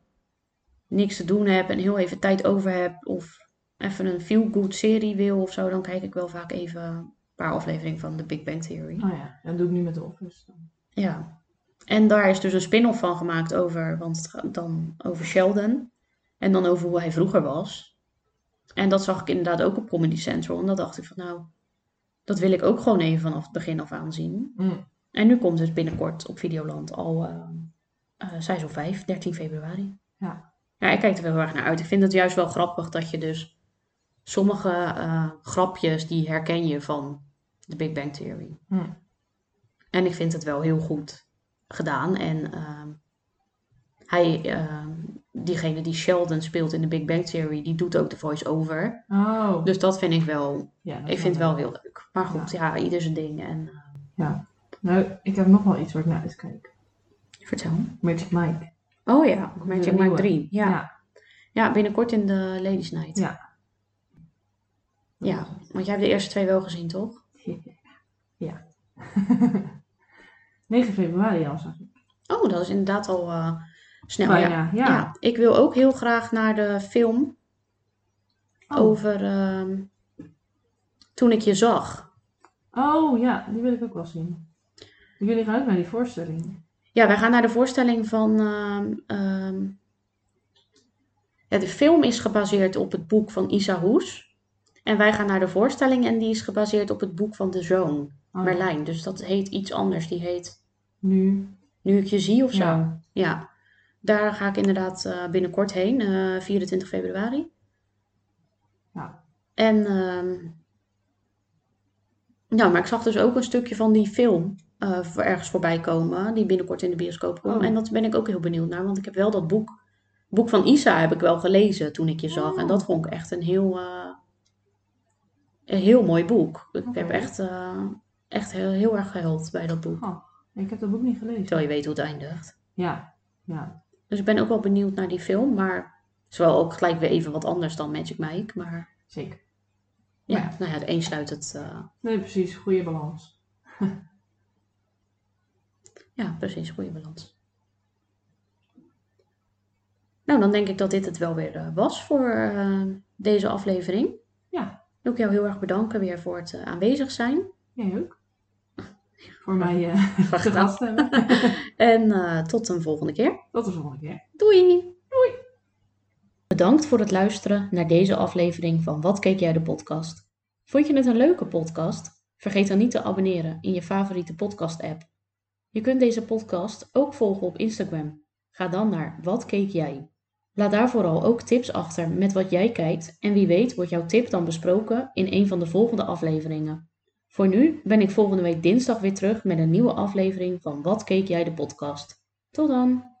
[SPEAKER 1] niks te doen heb en heel even tijd over heb. Of even een feel-good serie wil of zo. Dan kijk ik wel vaak even een paar afleveringen van The Big Bang Theory.
[SPEAKER 2] oh ja. Dat doe ik nu met de Office.
[SPEAKER 1] Ja. En daar is dus een spin-off van gemaakt over, want het gaat dan over Sheldon. En dan over hoe hij vroeger was. En dat zag ik inderdaad ook op Comedy Central. En dat dacht ik van nou, dat wil ik ook gewoon even vanaf het begin af aan zien.
[SPEAKER 2] Mm.
[SPEAKER 1] En nu komt dus binnenkort op Videoland al eh eh, seizoen 5, 13 februari.
[SPEAKER 2] Ja.
[SPEAKER 1] Ja, ik kijk er wel heel erg naar uit. Ik vind het juist wel grappig dat je dus sommige eh, grapjes, die herken je van de Big Bang Theory.
[SPEAKER 2] Hm.
[SPEAKER 1] En ik vind het wel heel goed gedaan. En ehm, hij, ehm, diegene die Sheldon speelt in de Big Bang Theory, die doet ook de voice-over.
[SPEAKER 2] Oh.
[SPEAKER 1] Dus dat vind ik wel,
[SPEAKER 2] ja, dat
[SPEAKER 1] ik
[SPEAKER 2] is
[SPEAKER 1] vind het wel heel leuk. Maar goed, ja, ieder zijn ding. En
[SPEAKER 2] Nou, ik heb nog wel iets waar ik naar uitkijk.
[SPEAKER 1] eh, vertel.
[SPEAKER 2] Magic Mike.
[SPEAKER 1] Oh ja,
[SPEAKER 2] De
[SPEAKER 1] Magic Mike
[SPEAKER 2] nieuwe.
[SPEAKER 1] 3. Ja. ja.
[SPEAKER 2] Ja.
[SPEAKER 1] binnenkort in de Ladies Night.
[SPEAKER 2] Ja.
[SPEAKER 1] Ja. Want jij hebt de eerste twee wel gezien, toch?
[SPEAKER 2] Ja. 9 februari al, zag ik.
[SPEAKER 1] Oh, dat is inderdaad al eh, Snel,
[SPEAKER 2] Bijna,
[SPEAKER 1] ja.
[SPEAKER 2] ja.
[SPEAKER 1] Ja, ik wil ook heel graag naar de film
[SPEAKER 2] Oh.
[SPEAKER 1] over ehm, Toen ik je zag.
[SPEAKER 2] Oh ja, die wil ik ook wel zien. Die wil ik uit naar die voorstelling.
[SPEAKER 1] Ja, wij gaan naar de voorstelling van. ehm, ehm, ja, de film is gebaseerd op het boek van Isa Hoes. En wij gaan naar de voorstelling en die is gebaseerd op het boek van de zoon,
[SPEAKER 2] Oh,
[SPEAKER 1] Merlijn. Dus dat heet iets anders. Die heet
[SPEAKER 2] Nu.
[SPEAKER 1] Nu ik je zie of zo. Ja,
[SPEAKER 2] Ja.
[SPEAKER 1] daar ga ik inderdaad eh, binnenkort heen, eh, 24 februari.
[SPEAKER 2] Ja.
[SPEAKER 1] En. ehm ja, maar ik zag dus ook een stukje van die film eh, voor ergens voorbij komen, die binnenkort in de bioscoop komt.
[SPEAKER 2] Oh.
[SPEAKER 1] En dat ben ik ook heel benieuwd naar, want ik heb wel dat boek, boek van Isa heb ik wel gelezen toen ik je zag.
[SPEAKER 2] Oh.
[SPEAKER 1] En dat vond ik echt een heel, eh, een heel mooi boek. Ik heb
[SPEAKER 2] Oké.
[SPEAKER 1] echt, eh, echt heel, heel erg gehuild bij dat boek.
[SPEAKER 2] Oh, Ik heb dat boek niet gelezen.
[SPEAKER 1] Terwijl je weet hoe het eindigt.
[SPEAKER 2] Ja, ja.
[SPEAKER 1] Dus ik ben ook wel benieuwd naar die film, maar het is wel ook gelijk weer even wat anders dan Magic Mike. Maar
[SPEAKER 2] Zeker.
[SPEAKER 1] ja,
[SPEAKER 2] Ja.
[SPEAKER 1] nou ja, het een sluit het... eh,
[SPEAKER 2] Nee, precies. Goede balans.
[SPEAKER 1] Ja, precies, goede balans. Nou, dan denk ik dat dit het wel weer eh, was voor eh, deze aflevering.
[SPEAKER 2] Ja.
[SPEAKER 1] Wil ik jou heel erg bedanken weer voor het eh, aanwezig zijn.
[SPEAKER 2] Jij ook? Voor mij eh
[SPEAKER 1] Graag
[SPEAKER 2] te
[SPEAKER 1] gedaan.
[SPEAKER 2] gast hebben.
[SPEAKER 1] En eh, tot een volgende keer.
[SPEAKER 2] Tot de volgende keer.
[SPEAKER 1] Doei!
[SPEAKER 4] Bedankt voor het luisteren naar deze aflevering van Wat keek jij de podcast? Vond je het een leuke podcast? Vergeet dan niet te abonneren in je favoriete podcast app. Je kunt deze podcast ook volgen op Instagram. Ga dan naar Wat keek jij? Laat daar vooral ook tips achter met wat jij kijkt en wie weet wordt jouw tip dan besproken in een van de volgende afleveringen. Voor nu ben ik volgende week dinsdag weer terug met een nieuwe aflevering van Wat keek jij de podcast. Tot dan!